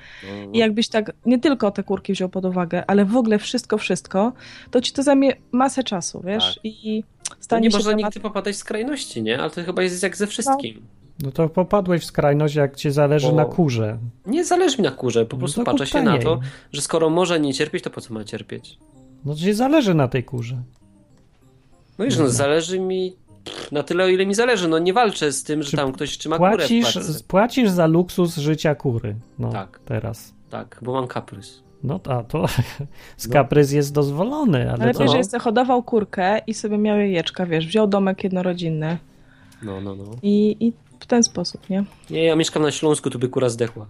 Speaker 3: No.
Speaker 2: I jakbyś tak nie tylko te kurki wziął pod uwagę, ale w ogóle wszystko, wszystko, to ci to zajmie masę czasu, wiesz?
Speaker 3: Tak.
Speaker 2: I
Speaker 3: To
Speaker 2: stanie
Speaker 3: nie
Speaker 2: się
Speaker 3: można
Speaker 2: temat...
Speaker 3: nigdy popadać w skrajności, nie? Ale to chyba jest jak ze wszystkim.
Speaker 1: No to popadłeś w skrajność, jak cię zależy
Speaker 3: Bo-
Speaker 1: na kurze.
Speaker 3: Nie zależy mi na kurze, po
Speaker 1: No
Speaker 3: prostu
Speaker 1: to
Speaker 3: patrzę
Speaker 1: kup
Speaker 3: się na
Speaker 1: taniej.
Speaker 3: to, że skoro może nie cierpieć, to po co ma cierpieć?
Speaker 1: No ci zależy na tej kurze.
Speaker 3: No wiesz, no
Speaker 1: Mhm.
Speaker 3: zależy mi na tyle, o ile mi zależy. No nie walczę z tym, że
Speaker 1: Czy
Speaker 3: tam ktoś trzyma kurę w
Speaker 1: Płacisz,
Speaker 3: klatce.
Speaker 1: płacisz za luksus życia kury. No
Speaker 3: Tak.
Speaker 1: teraz.
Speaker 3: Tak, bo mam kaprys.
Speaker 1: No to- a to z kaprys jest dozwolony, ale
Speaker 2: Ale
Speaker 1: to,
Speaker 2: wiesz,
Speaker 3: no.
Speaker 2: że sobie hodował kurkę i sobie miał jajeczka, wiesz, wziął domek jednorodzinny
Speaker 3: No, no, no.
Speaker 2: i, i w ten sposób, nie?
Speaker 3: Nie, ja mieszkam na Śląsku, tu by kura zdechła.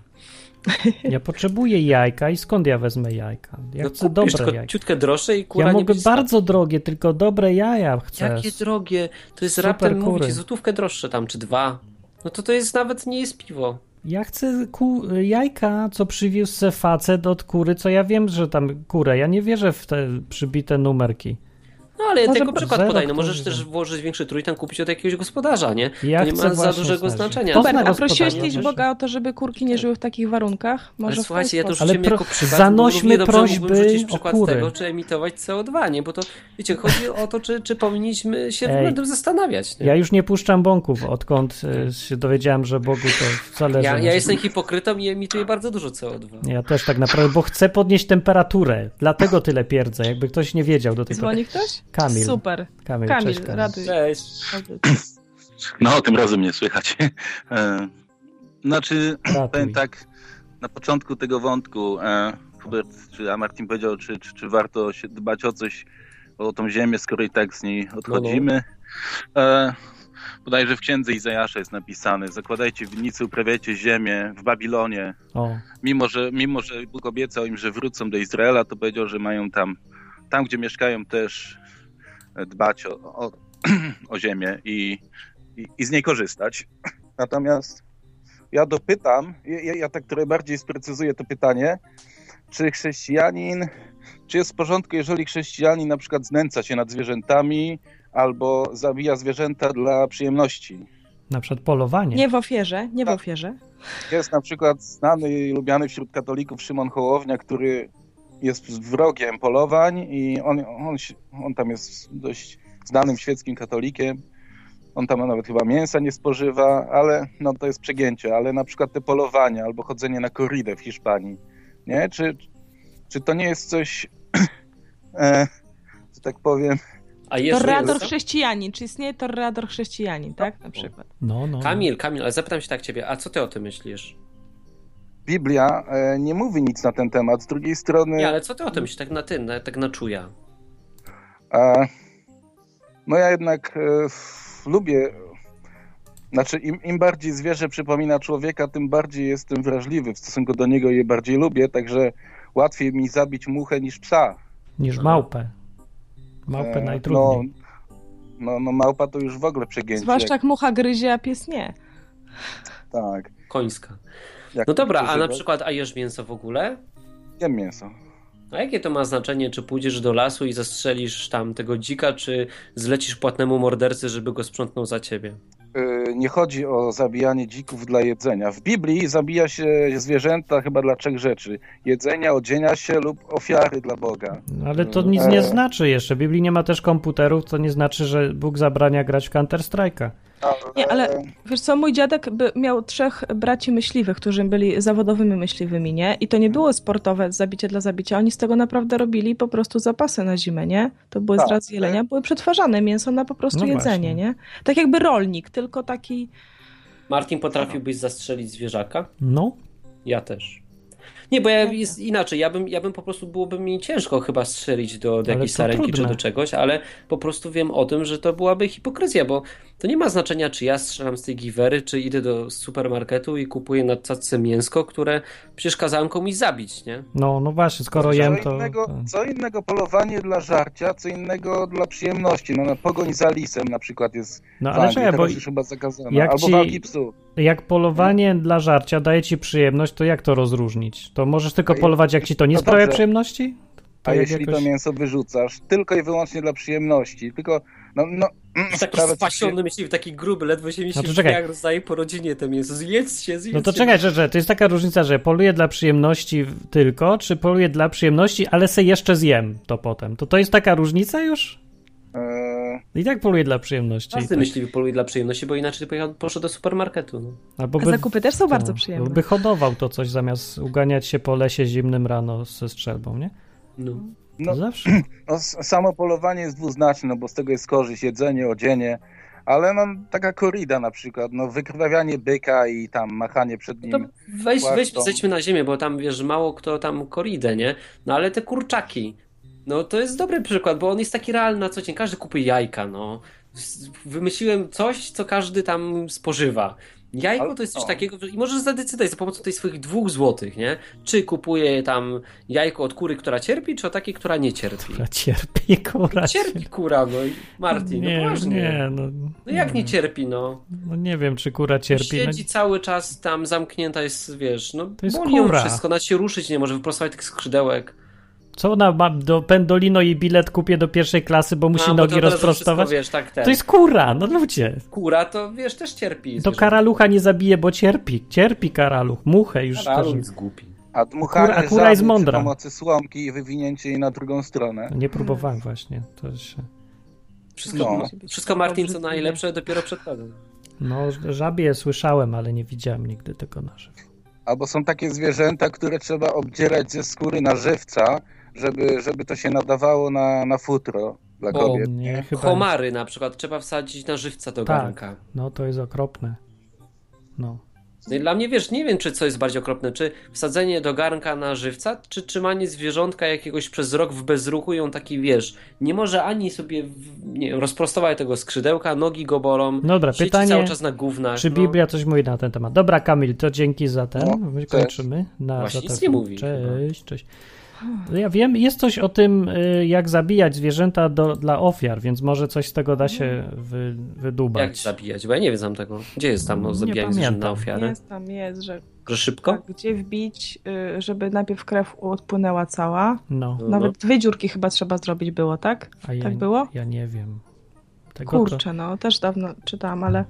Speaker 1: ja potrzebuję jajka i skąd ja wezmę jajka? Ja
Speaker 3: No
Speaker 1: chcę
Speaker 3: kupisz
Speaker 1: dobre
Speaker 3: tylko
Speaker 1: jajka.
Speaker 3: ciutkę droższe i kura
Speaker 1: Ja
Speaker 3: nie
Speaker 1: mogę
Speaker 3: będzie
Speaker 1: bardzo drogie, tylko dobre jaja chcę.
Speaker 3: Jakie drogie, to jest
Speaker 1: Super
Speaker 3: raptem, mówię
Speaker 1: kury.
Speaker 3: ci, złotówkę droższe tam, czy dwa. No to to jest nawet, nie jest piwo.
Speaker 1: Ja chcę ku... jajka, co przywiózł se facet od kury, co ja wiem, że tam kurę. Ja nie wierzę w te przybite numerki.
Speaker 3: No ale
Speaker 1: Może
Speaker 3: jako przykład
Speaker 1: zero,
Speaker 3: podaj, no
Speaker 1: który
Speaker 3: możesz
Speaker 1: wie.
Speaker 3: też włożyć większy trójtan, kupić od jakiegoś gospodarza, nie?
Speaker 1: Ja
Speaker 3: to nie
Speaker 1: chcę
Speaker 3: ma za
Speaker 1: właśnie
Speaker 3: dużego
Speaker 1: znaleźć.
Speaker 3: znaczenia.
Speaker 1: To zna
Speaker 2: Hubert, a
Speaker 1: gospodarz,
Speaker 2: prosiłeś kiedyś
Speaker 1: wiesz?
Speaker 2: Boga o to, żeby kurki nie żyły w takich warunkach? Może w
Speaker 3: Ale
Speaker 2: ten
Speaker 3: słuchajcie, ja to
Speaker 2: sposób.
Speaker 1: Ale
Speaker 3: rzuciłem
Speaker 1: pro-
Speaker 3: jako przykład,
Speaker 1: zanośmy
Speaker 3: bo równie dobrze
Speaker 1: prośby
Speaker 3: mógłbym rzucić
Speaker 1: o
Speaker 3: przykład
Speaker 1: kury.
Speaker 3: tego, czy emitować CO2, nie? Bo to, wiecie, chodzi o to, czy, czy powinniśmy się
Speaker 1: Ej.
Speaker 3: nad tym zastanawiać. Nie?
Speaker 1: Ja już nie puszczam bąków, odkąd y, się dowiedziałem, że Bogu to wcale
Speaker 3: Ja,
Speaker 1: że-
Speaker 3: ja jestem hipokrytą i emituję bardzo dużo CO2.
Speaker 1: Ja też tak naprawdę, bo chcę podnieść temperaturę. Dlatego tyle pierdzę, jakby ktoś nie wiedział do tej pory.
Speaker 2: Dzwoni ktoś?
Speaker 1: Kamil.
Speaker 2: Super.
Speaker 1: Kamil,
Speaker 2: Kamil,
Speaker 1: cześć, Kamil.
Speaker 2: raduj.
Speaker 3: Cześć.
Speaker 11: No, tym razem nie słychać. E, Znaczy, powiem tak, na początku tego wątku, e, Hubert, czy a Martin powiedział, czy, czy, czy warto się dbać o coś, o tą ziemię, skoro i tak z niej odchodzimy. E, bodajże w księdze Izajasza jest napisane, zakładajcie winnice, uprawiajcie ziemię w Babilonie.
Speaker 1: O,
Speaker 11: Mimo że, mimo, że Bóg obiecał im, że wrócą do Izraela, to powiedział, że mają tam, tam gdzie mieszkają też e, dbać o, o, o ziemię i, i, i z niej korzystać. Natomiast ja dopytam, ja- ja, ja tak trochę bardziej sprecyzuję to pytanie, czy chrześcijanin, czy jest w porządku, jeżeli chrześcijanin na przykład znęca się nad zwierzętami albo zabija zwierzęta dla przyjemności?
Speaker 1: na przykład polowanie.
Speaker 2: Nie w ofierze, nie w
Speaker 3: Tak.
Speaker 2: ofierze.
Speaker 11: Jest na przykład znany i lubiany wśród katolików Szymon Hołownia, który jest wrogiem polowań i on, on, się- on tam jest dość znanym świeckim katolikiem. On tam nawet chyba mięsa nie spożywa, ale no to jest przegięcie, ale na przykład te polowania albo chodzenie na korridę w Hiszpanii, nie? Czy, czy to nie jest coś, e, że tak powiem...
Speaker 3: A
Speaker 2: Torrador chrześcijanin, czy istnieje torrador chrześcijanin, tak? Na przykład.
Speaker 1: No, no.
Speaker 3: Kamil, Kamil, ale zapytam się tak ciebie, a co ty o tym myślisz?
Speaker 11: Biblia e, nie mówi nic na ten temat, z drugiej strony...
Speaker 3: Nie, ale co ty o tym myślisz, tak na tym, na, tak na czuja?
Speaker 11: A, no ja jednak e, f- lubię. Znaczy, im, im bardziej zwierzę przypomina człowieka, tym bardziej jestem wrażliwy w stosunku do niego i je bardziej lubię, także łatwiej mi zabić muchę niż psa.
Speaker 1: Niż małpę. Małpę
Speaker 11: No. E,
Speaker 1: najtrudniej.
Speaker 11: No, no, no małpa to już w ogóle przegięcie.
Speaker 2: Zwłaszcza jak mucha gryzie, a pies nie.
Speaker 11: Tak.
Speaker 3: Końska.
Speaker 11: Jak
Speaker 3: No dobra,
Speaker 11: ktoś
Speaker 3: a na
Speaker 11: używa-
Speaker 3: przykład, a jesz mięso w ogóle?
Speaker 11: Jem mięso.
Speaker 3: A jakie to ma znaczenie, czy pójdziesz do lasu i zastrzelisz tam tego dzika, czy zlecisz płatnemu mordercy, żeby go sprzątnął za ciebie?
Speaker 11: Y, nie chodzi o zabijanie dzików dla jedzenia. W Biblii zabija się zwierzęta chyba dla trzech rzeczy: jedzenia, odzienia się lub ofiary dla Boga.
Speaker 1: Ale to nic nie
Speaker 11: E.
Speaker 1: znaczy jeszcze. W Biblii nie ma też komputerów, co nie znaczy, że Bóg zabrania grać w Counter-Strike'a.
Speaker 2: Nie, ale wiesz co, mój dziadek by miał trzech braci myśliwych, którzy byli zawodowymi myśliwymi, nie? I to nie było sportowe zabicie dla zabicia. Oni z tego naprawdę robili po prostu zapasy na zimę, nie? To były
Speaker 11: Tak,
Speaker 2: z raz jelenia, były przetwarzane mięso na po prostu
Speaker 1: No
Speaker 2: jedzenie,
Speaker 1: właśnie.
Speaker 2: nie? Tak jakby rolnik, tylko taki...
Speaker 3: Martin, potrafiłbyś zastrzelić zwierzaka?
Speaker 1: No,
Speaker 3: Ja też. Nie, bo ja jest inaczej, ja bym, ja bym po prostu, byłoby mi ciężko chyba strzelić do, do
Speaker 1: Ale
Speaker 3: jakiejś
Speaker 1: to
Speaker 3: sarenki czy
Speaker 1: trudne.
Speaker 3: do czegoś, ale po prostu wiem o tym, że to byłaby hipokryzja, bo to nie ma znaczenia, czy ja strzelam z tej giwery, czy idę do supermarketu i kupuję na cacce mięsko, które przecież kazałem komuś zabić, nie?
Speaker 1: no, no właśnie, skoro jem
Speaker 11: co
Speaker 1: to...
Speaker 11: innego,
Speaker 1: to...
Speaker 11: co innego polowanie dla żarcia, co innego dla przyjemności. No, na pogoń za lisem na przykład jest
Speaker 1: No,
Speaker 11: w
Speaker 1: ale
Speaker 11: Anglii,
Speaker 1: czekaj,
Speaker 11: Tak, teraz
Speaker 1: bo
Speaker 11: już chyba zakazane.
Speaker 1: jak
Speaker 11: Albo
Speaker 1: ci-
Speaker 11: walki psu.
Speaker 1: Jak polowanie dla żarcia daje ci przyjemność, to jak to rozróżnić? To możesz tylko polować, jak ci to nie
Speaker 11: no
Speaker 1: sprawia
Speaker 11: dobrze.
Speaker 1: przyjemności? Tak To
Speaker 11: A
Speaker 1: jak
Speaker 11: jeśli to mięso wyrzucasz tylko i wyłącznie dla przyjemności, tylko no, no, mm,
Speaker 3: Taki
Speaker 11: sprawia ci
Speaker 3: spasiony myśli, taki gruby, ledwo się mieści
Speaker 1: No to
Speaker 3: w
Speaker 1: czekaj.
Speaker 3: drzwiach, rozdaje po rodzinie to mięso, zjedz się, zjedz
Speaker 1: No to
Speaker 3: się.
Speaker 1: czekaj, że, że to jest taka różnica, że poluję dla przyjemności w- tylko, czy poluję dla przyjemności, ale se jeszcze zjem to potem. To to jest taka różnica już?
Speaker 11: Eee,
Speaker 1: I tak poluję dla przyjemności. i
Speaker 3: Każdy
Speaker 1: tak.
Speaker 3: myśliwy poluje dla przyjemności, bo inaczej pojechał- poszedł do supermarketu. No.
Speaker 1: Albo tak,
Speaker 2: A zakupy też są bardzo przyjemne.
Speaker 1: By hodował to coś zamiast uganiać się po lesie zimnym rano ze strzelbą, nie?
Speaker 3: No.
Speaker 1: To
Speaker 11: No.
Speaker 1: zawsze.
Speaker 11: no, s- samo polowanie jest dwuznaczne, no, bo z tego jest korzyść, jedzenie, odzienie. Ale no, taka korida na przykład, no, wykrwawianie byka i tam machanie przed nim.
Speaker 3: No To weź, weź
Speaker 11: Płaszczą.
Speaker 3: zejdźmy na ziemię, bo tam wiesz, mało kto tam koridę, nie? No ale te kurczaki. No to jest dobry przykład, bo on jest taki realny na co dzień. Każdy kupuje jajka, no. S- Wymyśliłem coś, co każdy tam spożywa. Jajko
Speaker 11: Ale-
Speaker 3: to jest coś
Speaker 11: o.
Speaker 3: takiego, że- i możesz zadecydować za pomocą tych swoich dwóch złotych, nie? Czy kupuję tam jajko od kury, która cierpi, czy od takiej, która nie cierpi?
Speaker 1: Kura cierpi, kura
Speaker 3: Cierpi kura, no i Martin,
Speaker 1: nie,
Speaker 3: no poważnie.
Speaker 1: Nie, no,
Speaker 3: No jak nie cierpi, no?
Speaker 1: No nie wiem, czy kura cierpi. No,
Speaker 3: Siedzi cały czas tam zamknięta jest, wiesz, no
Speaker 1: jest
Speaker 3: boli ją
Speaker 1: kura.
Speaker 3: wszystko, nawet się ruszyć nie może, wyprostować tych skrzydełek.
Speaker 1: Co ona ma do pendolino i bilet kupię do pierwszej klasy, bo musi
Speaker 3: bo to
Speaker 1: nogi
Speaker 3: od razu
Speaker 1: rozprostować?
Speaker 3: wszystko, wiesz, tak, ten.
Speaker 1: to jest kura, no ludzie.
Speaker 3: Kura to wiesz, też cierpi.
Speaker 1: To
Speaker 3: zwierzę.
Speaker 1: karalucha nie zabije, bo cierpi. Cierpi karaluch, muchę już.
Speaker 11: Karaluch
Speaker 1: też nie-
Speaker 11: jest
Speaker 3: głupi.
Speaker 11: A dmuchanie
Speaker 1: Kura- kura jest
Speaker 11: żaby
Speaker 1: mądra.
Speaker 11: przy pomocy słomki i wywinięcie jej na drugą stronę.
Speaker 1: Nie próbowałem właśnie. To się...
Speaker 3: Wszystko,
Speaker 11: No.
Speaker 3: wszystko Martin, co najlepsze, dopiero przed tobą.
Speaker 1: No, żabie słyszałem, ale nie widziałem nigdy tego na żywo.
Speaker 11: Albo są takie zwierzęta, które trzeba obdzierać ze skóry na żywca, żeby, żeby to się nadawało na, na futro dla
Speaker 3: O,
Speaker 11: kobiet.
Speaker 1: nie, chyba
Speaker 3: Homary na przykład trzeba wsadzić na żywca do garnka.
Speaker 1: Tak, no to jest okropne. No.
Speaker 3: No i Dla mnie, wiesz, nie wiem, czy co jest bardziej okropne, czy wsadzenie do garnka na żywca, czy trzymanie zwierzątka jakiegoś przez rok w bezruchu i on taki, wiesz, nie może ani sobie, w- nie wiem, rozprostować tego skrzydełka, nogi go bolą,
Speaker 1: No Dobra,
Speaker 3: siedzi
Speaker 1: pytanie.
Speaker 3: cały czas na gównach.
Speaker 1: Czy
Speaker 3: no.
Speaker 1: Biblia coś mówi na ten temat? Dobra, Kamil, to dzięki za ten.
Speaker 3: No,
Speaker 1: My
Speaker 3: cześć.
Speaker 1: kończymy. Na,
Speaker 3: Właśnie
Speaker 1: za
Speaker 3: nic
Speaker 1: ten-
Speaker 3: nie mówi
Speaker 1: Cześć, cześć. No Ja wiem, jest coś o tym, y, jak zabijać zwierzęta do, dla ofiar, więc może coś z tego da się wy, wydubać.
Speaker 3: Jak zabijać? Bo ja nie wiem tego. Gdzie jest tam o
Speaker 1: Nie
Speaker 3: zabijaniu zwierząt na
Speaker 1: pamiętam.
Speaker 3: ofiarę?
Speaker 2: Jest tam, jest, że
Speaker 3: Że szybko?
Speaker 2: gdzie wbić, y, żeby najpierw krew odpłynęła cała.
Speaker 1: No.
Speaker 2: Nawet dwie dziurki chyba trzeba zrobić było, tak?
Speaker 1: A ja,
Speaker 2: tak było?
Speaker 1: Ja nie wiem. Tego
Speaker 2: Kurczę, no też dawno czytałam, ale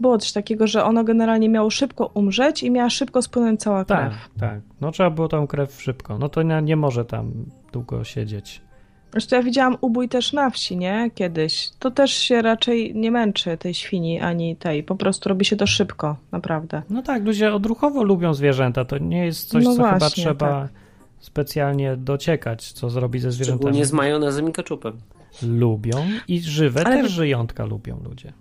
Speaker 2: było coś takiego, że ono generalnie miało szybko umrzeć i miała szybko spłynąć cała
Speaker 1: To...
Speaker 2: krew.
Speaker 1: Tak, tak. No trzeba było tam krew szybko. No to nie, nie może tam długo siedzieć.
Speaker 2: Zresztą ja widziałam ubój też na wsi, nie? Kiedyś. To też się raczej nie męczy tej świni ani tej. Po prostu robi się to szybko, naprawdę.
Speaker 1: No tak, ludzie odruchowo lubią zwierzęta. To nie jest coś,
Speaker 2: No
Speaker 1: co chyba
Speaker 2: właśnie,
Speaker 1: trzeba specjalnie dociekać, co zrobić ze zwierzętami.
Speaker 3: Szczególnie z majonezem i keczupem.
Speaker 1: Lubią i żywe
Speaker 2: Ale
Speaker 1: też
Speaker 2: to-
Speaker 1: żyjątka lubią ludzie.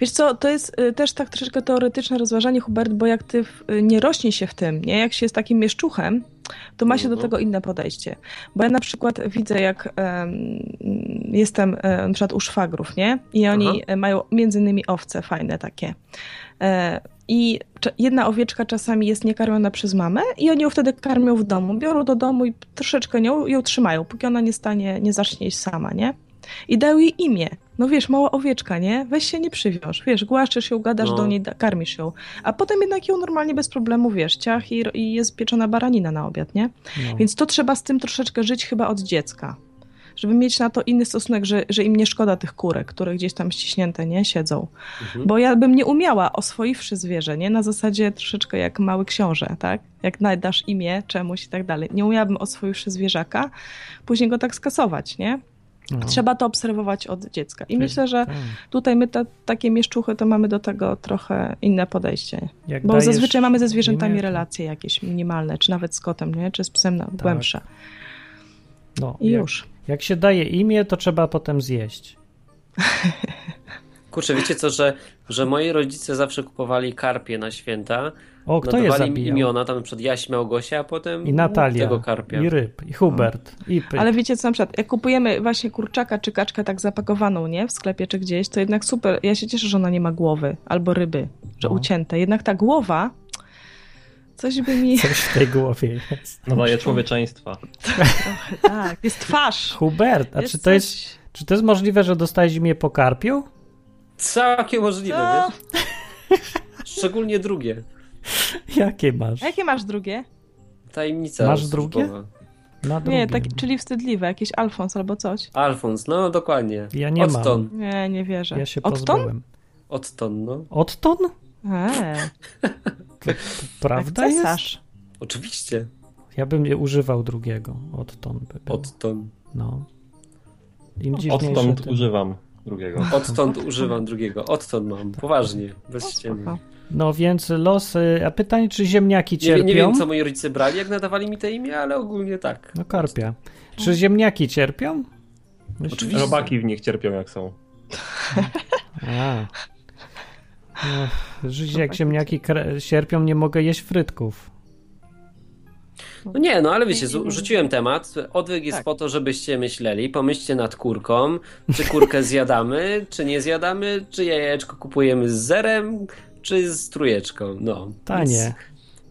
Speaker 2: Wiesz co, to jest y, też tak troszeczkę teoretyczne rozważanie, Hubert, bo jak ty w, y, nie rośnie się w tym, nie? jak się jest takim mieszczuchem, to ma się do
Speaker 12: Mhm.
Speaker 2: tego inne podejście. Bo ja na przykład widzę, jak em, jestem e, na przykład u szwagrów, nie? I oni
Speaker 12: Aha.
Speaker 2: e, mają między innymi owce fajne takie. E, I cza- jedna owieczka czasami jest niekarmiona przez mamę i oni ją wtedy karmią w domu. Biorą do domu i troszeczkę nią, ją trzymają, póki ona nie stanie, nie zacznie iść sama, nie? I dają jej imię. No wiesz, mała owieczka, nie? Weź się nie przywiąż. Wiesz, głaszczysz ją, gadasz
Speaker 12: No.
Speaker 2: do niej, da- karmisz ją. A potem jednak ją normalnie bez problemu, wiesz, ciach i, i jest pieczona baranina na obiad, nie?
Speaker 12: No.
Speaker 2: Więc to trzeba z tym troszeczkę żyć chyba od dziecka. Żeby mieć na to inny stosunek, że, że im nie szkoda tych kurek, które gdzieś tam ściśnięte, nie? Siedzą.
Speaker 12: Mhm.
Speaker 2: Bo ja bym nie umiała, oswoiwszy zwierzę, nie? Na zasadzie troszeczkę jak mały książę, tak? Jak nadasz imię czemuś i tak dalej. Nie umiałabym, oswoiwszy zwierzaka, później go tak skasować, nie?
Speaker 12: No.
Speaker 2: Trzeba to obserwować od dziecka. I
Speaker 12: Ty-
Speaker 2: myślę, że
Speaker 12: tak.
Speaker 2: tutaj my te, takie mieszczuchy, to mamy do tego trochę inne podejście.
Speaker 12: Jak
Speaker 2: Bo
Speaker 12: dajesz
Speaker 2: zazwyczaj mamy ze zwierzętami
Speaker 12: imię, to- Tak.
Speaker 2: relacje jakieś minimalne, czy nawet z kotem, nie? czy z psem na, głębsze.
Speaker 1: No,
Speaker 2: I
Speaker 1: jak,
Speaker 2: już.
Speaker 1: Jak się daje imię, to trzeba potem zjeść.
Speaker 3: Kurczę, wiecie co, że, że moi rodzice zawsze kupowali karpie na święta.
Speaker 1: O, kto je
Speaker 3: nadawali im
Speaker 1: zabijał?
Speaker 3: imiona, tam przed Jaś Małgosia, a potem
Speaker 1: I Natalia,
Speaker 3: tego karpia. No.
Speaker 1: i ryb, i Hubert, i pyk.
Speaker 2: Ale wiecie co, na przykład, jak kupujemy właśnie kurczaka czy kaczkę tak zapakowaną, nie? W sklepie czy gdzieś, to jednak super. Ja się cieszę, że ona nie ma głowy albo ryby, że
Speaker 1: No.
Speaker 2: ucięte. Jednak ta głowa, coś by mi...
Speaker 1: Coś w tej głowie jest.
Speaker 3: No,
Speaker 7: Nadaje człowieczeństwa.
Speaker 2: tak, jest twarz.
Speaker 1: Hubert, a
Speaker 2: Jest
Speaker 1: czy to jest, czy to jest możliwe, że dostałeś imię po karpiu?
Speaker 3: Całkiem możliwe,
Speaker 2: Co?
Speaker 3: wiesz? Szczególnie drugie.
Speaker 1: Jakie masz?
Speaker 2: A jakie masz drugie?
Speaker 3: Tajemnica.
Speaker 1: Masz drugie?
Speaker 3: służbowa.
Speaker 1: Na
Speaker 2: Nie,
Speaker 1: drugie.
Speaker 2: tak, czyli wstydliwe, jakiś Alfons albo coś.
Speaker 3: Alfons, no dokładnie.
Speaker 1: Ja nie mam.
Speaker 3: Odton.
Speaker 2: Nie, nie wierzę.
Speaker 1: Ja się
Speaker 2: Odtąd?
Speaker 1: pozbyłem.
Speaker 3: Odton, no.
Speaker 1: Odton?
Speaker 2: Eee,
Speaker 1: Prawda
Speaker 2: jak
Speaker 1: jest?
Speaker 2: Tak, cesarz.
Speaker 3: Oczywiście.
Speaker 1: Ja bym nie używał drugiego. Odton by był.
Speaker 3: Odton.
Speaker 1: No. Im dziwniejsze,
Speaker 7: Odtąd
Speaker 1: tym-
Speaker 7: używam drugiego.
Speaker 3: Odtąd używam drugiego. Odtąd mam. Poważnie. Bez ściemy.
Speaker 1: No więc losy. A pytanie, czy ziemniaki
Speaker 3: Nie,
Speaker 1: cierpią?
Speaker 3: wiem- nie wiem, co moi rodzice brali, jak nadawali mi te imię, ale ogólnie tak.
Speaker 1: No karpia. Czy ziemniaki cierpią? Myślisz?
Speaker 3: Oczywiście.
Speaker 7: Robaki w nich cierpią jak są.
Speaker 1: A. No, żyć jak ziemniaki kre- cierpią, nie mogę jeść frytków.
Speaker 3: No nie, no ale wiecie, zu- rzuciłem temat. Odwyk
Speaker 1: Tak.
Speaker 3: jest po to, żebyście myśleli. Pomyślcie nad kurką. Czy kurkę zjadamy, czy nie zjadamy, czy jajeczko kupujemy z zerem, czy z trójeczką. No.
Speaker 1: Tanie.
Speaker 3: Więc,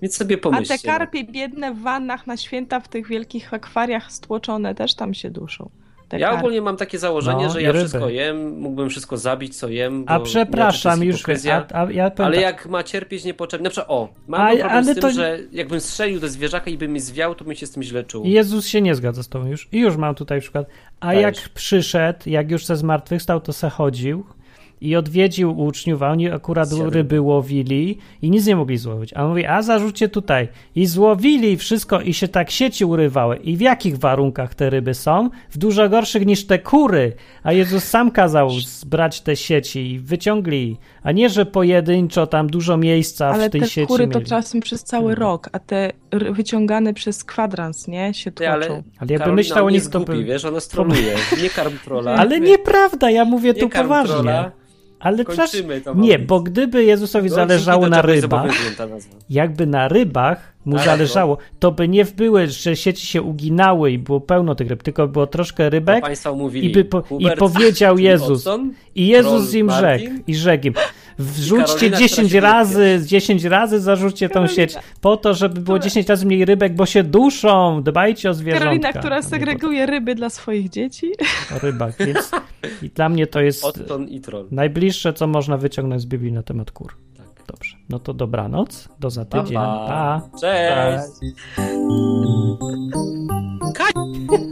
Speaker 3: więc sobie
Speaker 2: A
Speaker 3: pomyślcie.
Speaker 2: te karpie biedne w wannach na święta w tych wielkich akwariach stłoczone też tam się duszą. Te
Speaker 3: no. ja
Speaker 2: kary.
Speaker 3: ogólnie mam takie założenie,
Speaker 1: No,
Speaker 3: że
Speaker 1: i
Speaker 3: ja
Speaker 1: ryby.
Speaker 3: wszystko jem, mógłbym wszystko zabić, co jem.
Speaker 1: A
Speaker 3: bo
Speaker 1: przepraszam,
Speaker 3: inaczej to
Speaker 1: już
Speaker 3: jest hipokryzja.
Speaker 1: a- a ja powiem
Speaker 3: ale
Speaker 1: tak.
Speaker 3: jak ma cierpieć niepotrzebnie. Na przykład, o, mam
Speaker 1: A-
Speaker 3: problem
Speaker 1: ale
Speaker 3: z tym,
Speaker 1: to-
Speaker 3: że jakbym strzelił do zwierzaka i by mi zwiał, to bym się z tym źle czuł.
Speaker 1: Jezus się nie zgadza z tobą już. I już mam tutaj przykład. A jak przyszedł, jak już se zmartwychwstał, to se chodził i odwiedził uczniów, a oni akurat
Speaker 3: Zjadł.
Speaker 1: ryby łowili i nic nie mogli złowić. A on mówi, a zarzućcie tutaj. I złowili wszystko i się tak sieci urywały. I w jakich warunkach te ryby są? W dużo gorszych niż te kury. A Jezus sam kazał zbrać te sieci i wyciągli. A nie, że pojedynczo tam dużo miejsca
Speaker 2: Ale
Speaker 1: w tej
Speaker 2: te
Speaker 1: sieci
Speaker 2: kury to
Speaker 1: mieli. Mhm.
Speaker 2: czasem przez cały rok, a te r- wyciągane przez kwadrans, nie? Się tłoczą.
Speaker 3: ale,
Speaker 1: Ale jakby
Speaker 3: Karolina,
Speaker 1: myślał o
Speaker 3: on
Speaker 1: nich,
Speaker 3: jest
Speaker 1: to
Speaker 3: głupi,
Speaker 1: by-
Speaker 3: wiesz, ona stroluje. Nie karm trola.
Speaker 1: Ale nieprawda, ja mówię
Speaker 3: Nie
Speaker 1: tu
Speaker 3: karm
Speaker 1: poważnie.
Speaker 3: trola.
Speaker 1: Ale
Speaker 3: Kończymy
Speaker 1: przecież-
Speaker 3: to, No,
Speaker 1: Nie,
Speaker 3: Maurice.
Speaker 1: bo gdyby Jezusowi
Speaker 3: Do
Speaker 1: zależało
Speaker 3: odcinka
Speaker 1: na
Speaker 3: czegoś
Speaker 1: rybach,
Speaker 3: zobowiązują ta nazwa.
Speaker 1: jakby na rybach mu
Speaker 3: Ale to-
Speaker 1: zależało,
Speaker 3: no.
Speaker 1: to by nie były, że sieci się uginały i było pełno tych ryb, tylko było troszkę rybek
Speaker 3: To państwo
Speaker 1: i,
Speaker 3: mówili.
Speaker 1: by po, i
Speaker 3: Hubert,
Speaker 1: powiedział
Speaker 3: czyli
Speaker 1: Jezus.
Speaker 3: Watson,
Speaker 1: I Jezus
Speaker 3: Troll
Speaker 1: im rzekł,
Speaker 3: Martin
Speaker 1: i rzekł im, wrzućcie
Speaker 3: Karolina,
Speaker 1: 10
Speaker 3: która się
Speaker 1: razy, 10 razy zarzućcie tą sieć, po to, żeby było 10 razy mniej rybek, bo się duszą, dbajcie o zwierzątka.
Speaker 2: Karolina, która segreguje ryby dla swoich dzieci.
Speaker 1: o rybach, więc i dla mnie to jest
Speaker 3: Otton i troll. Tak.
Speaker 1: najbliższe, co można wyciągnąć z Biblii na temat kur. Dobrze, no to dobranoc, do za
Speaker 3: Pa,
Speaker 1: tydzień,
Speaker 3: pa.
Speaker 1: pa.
Speaker 3: Cześć. Ka-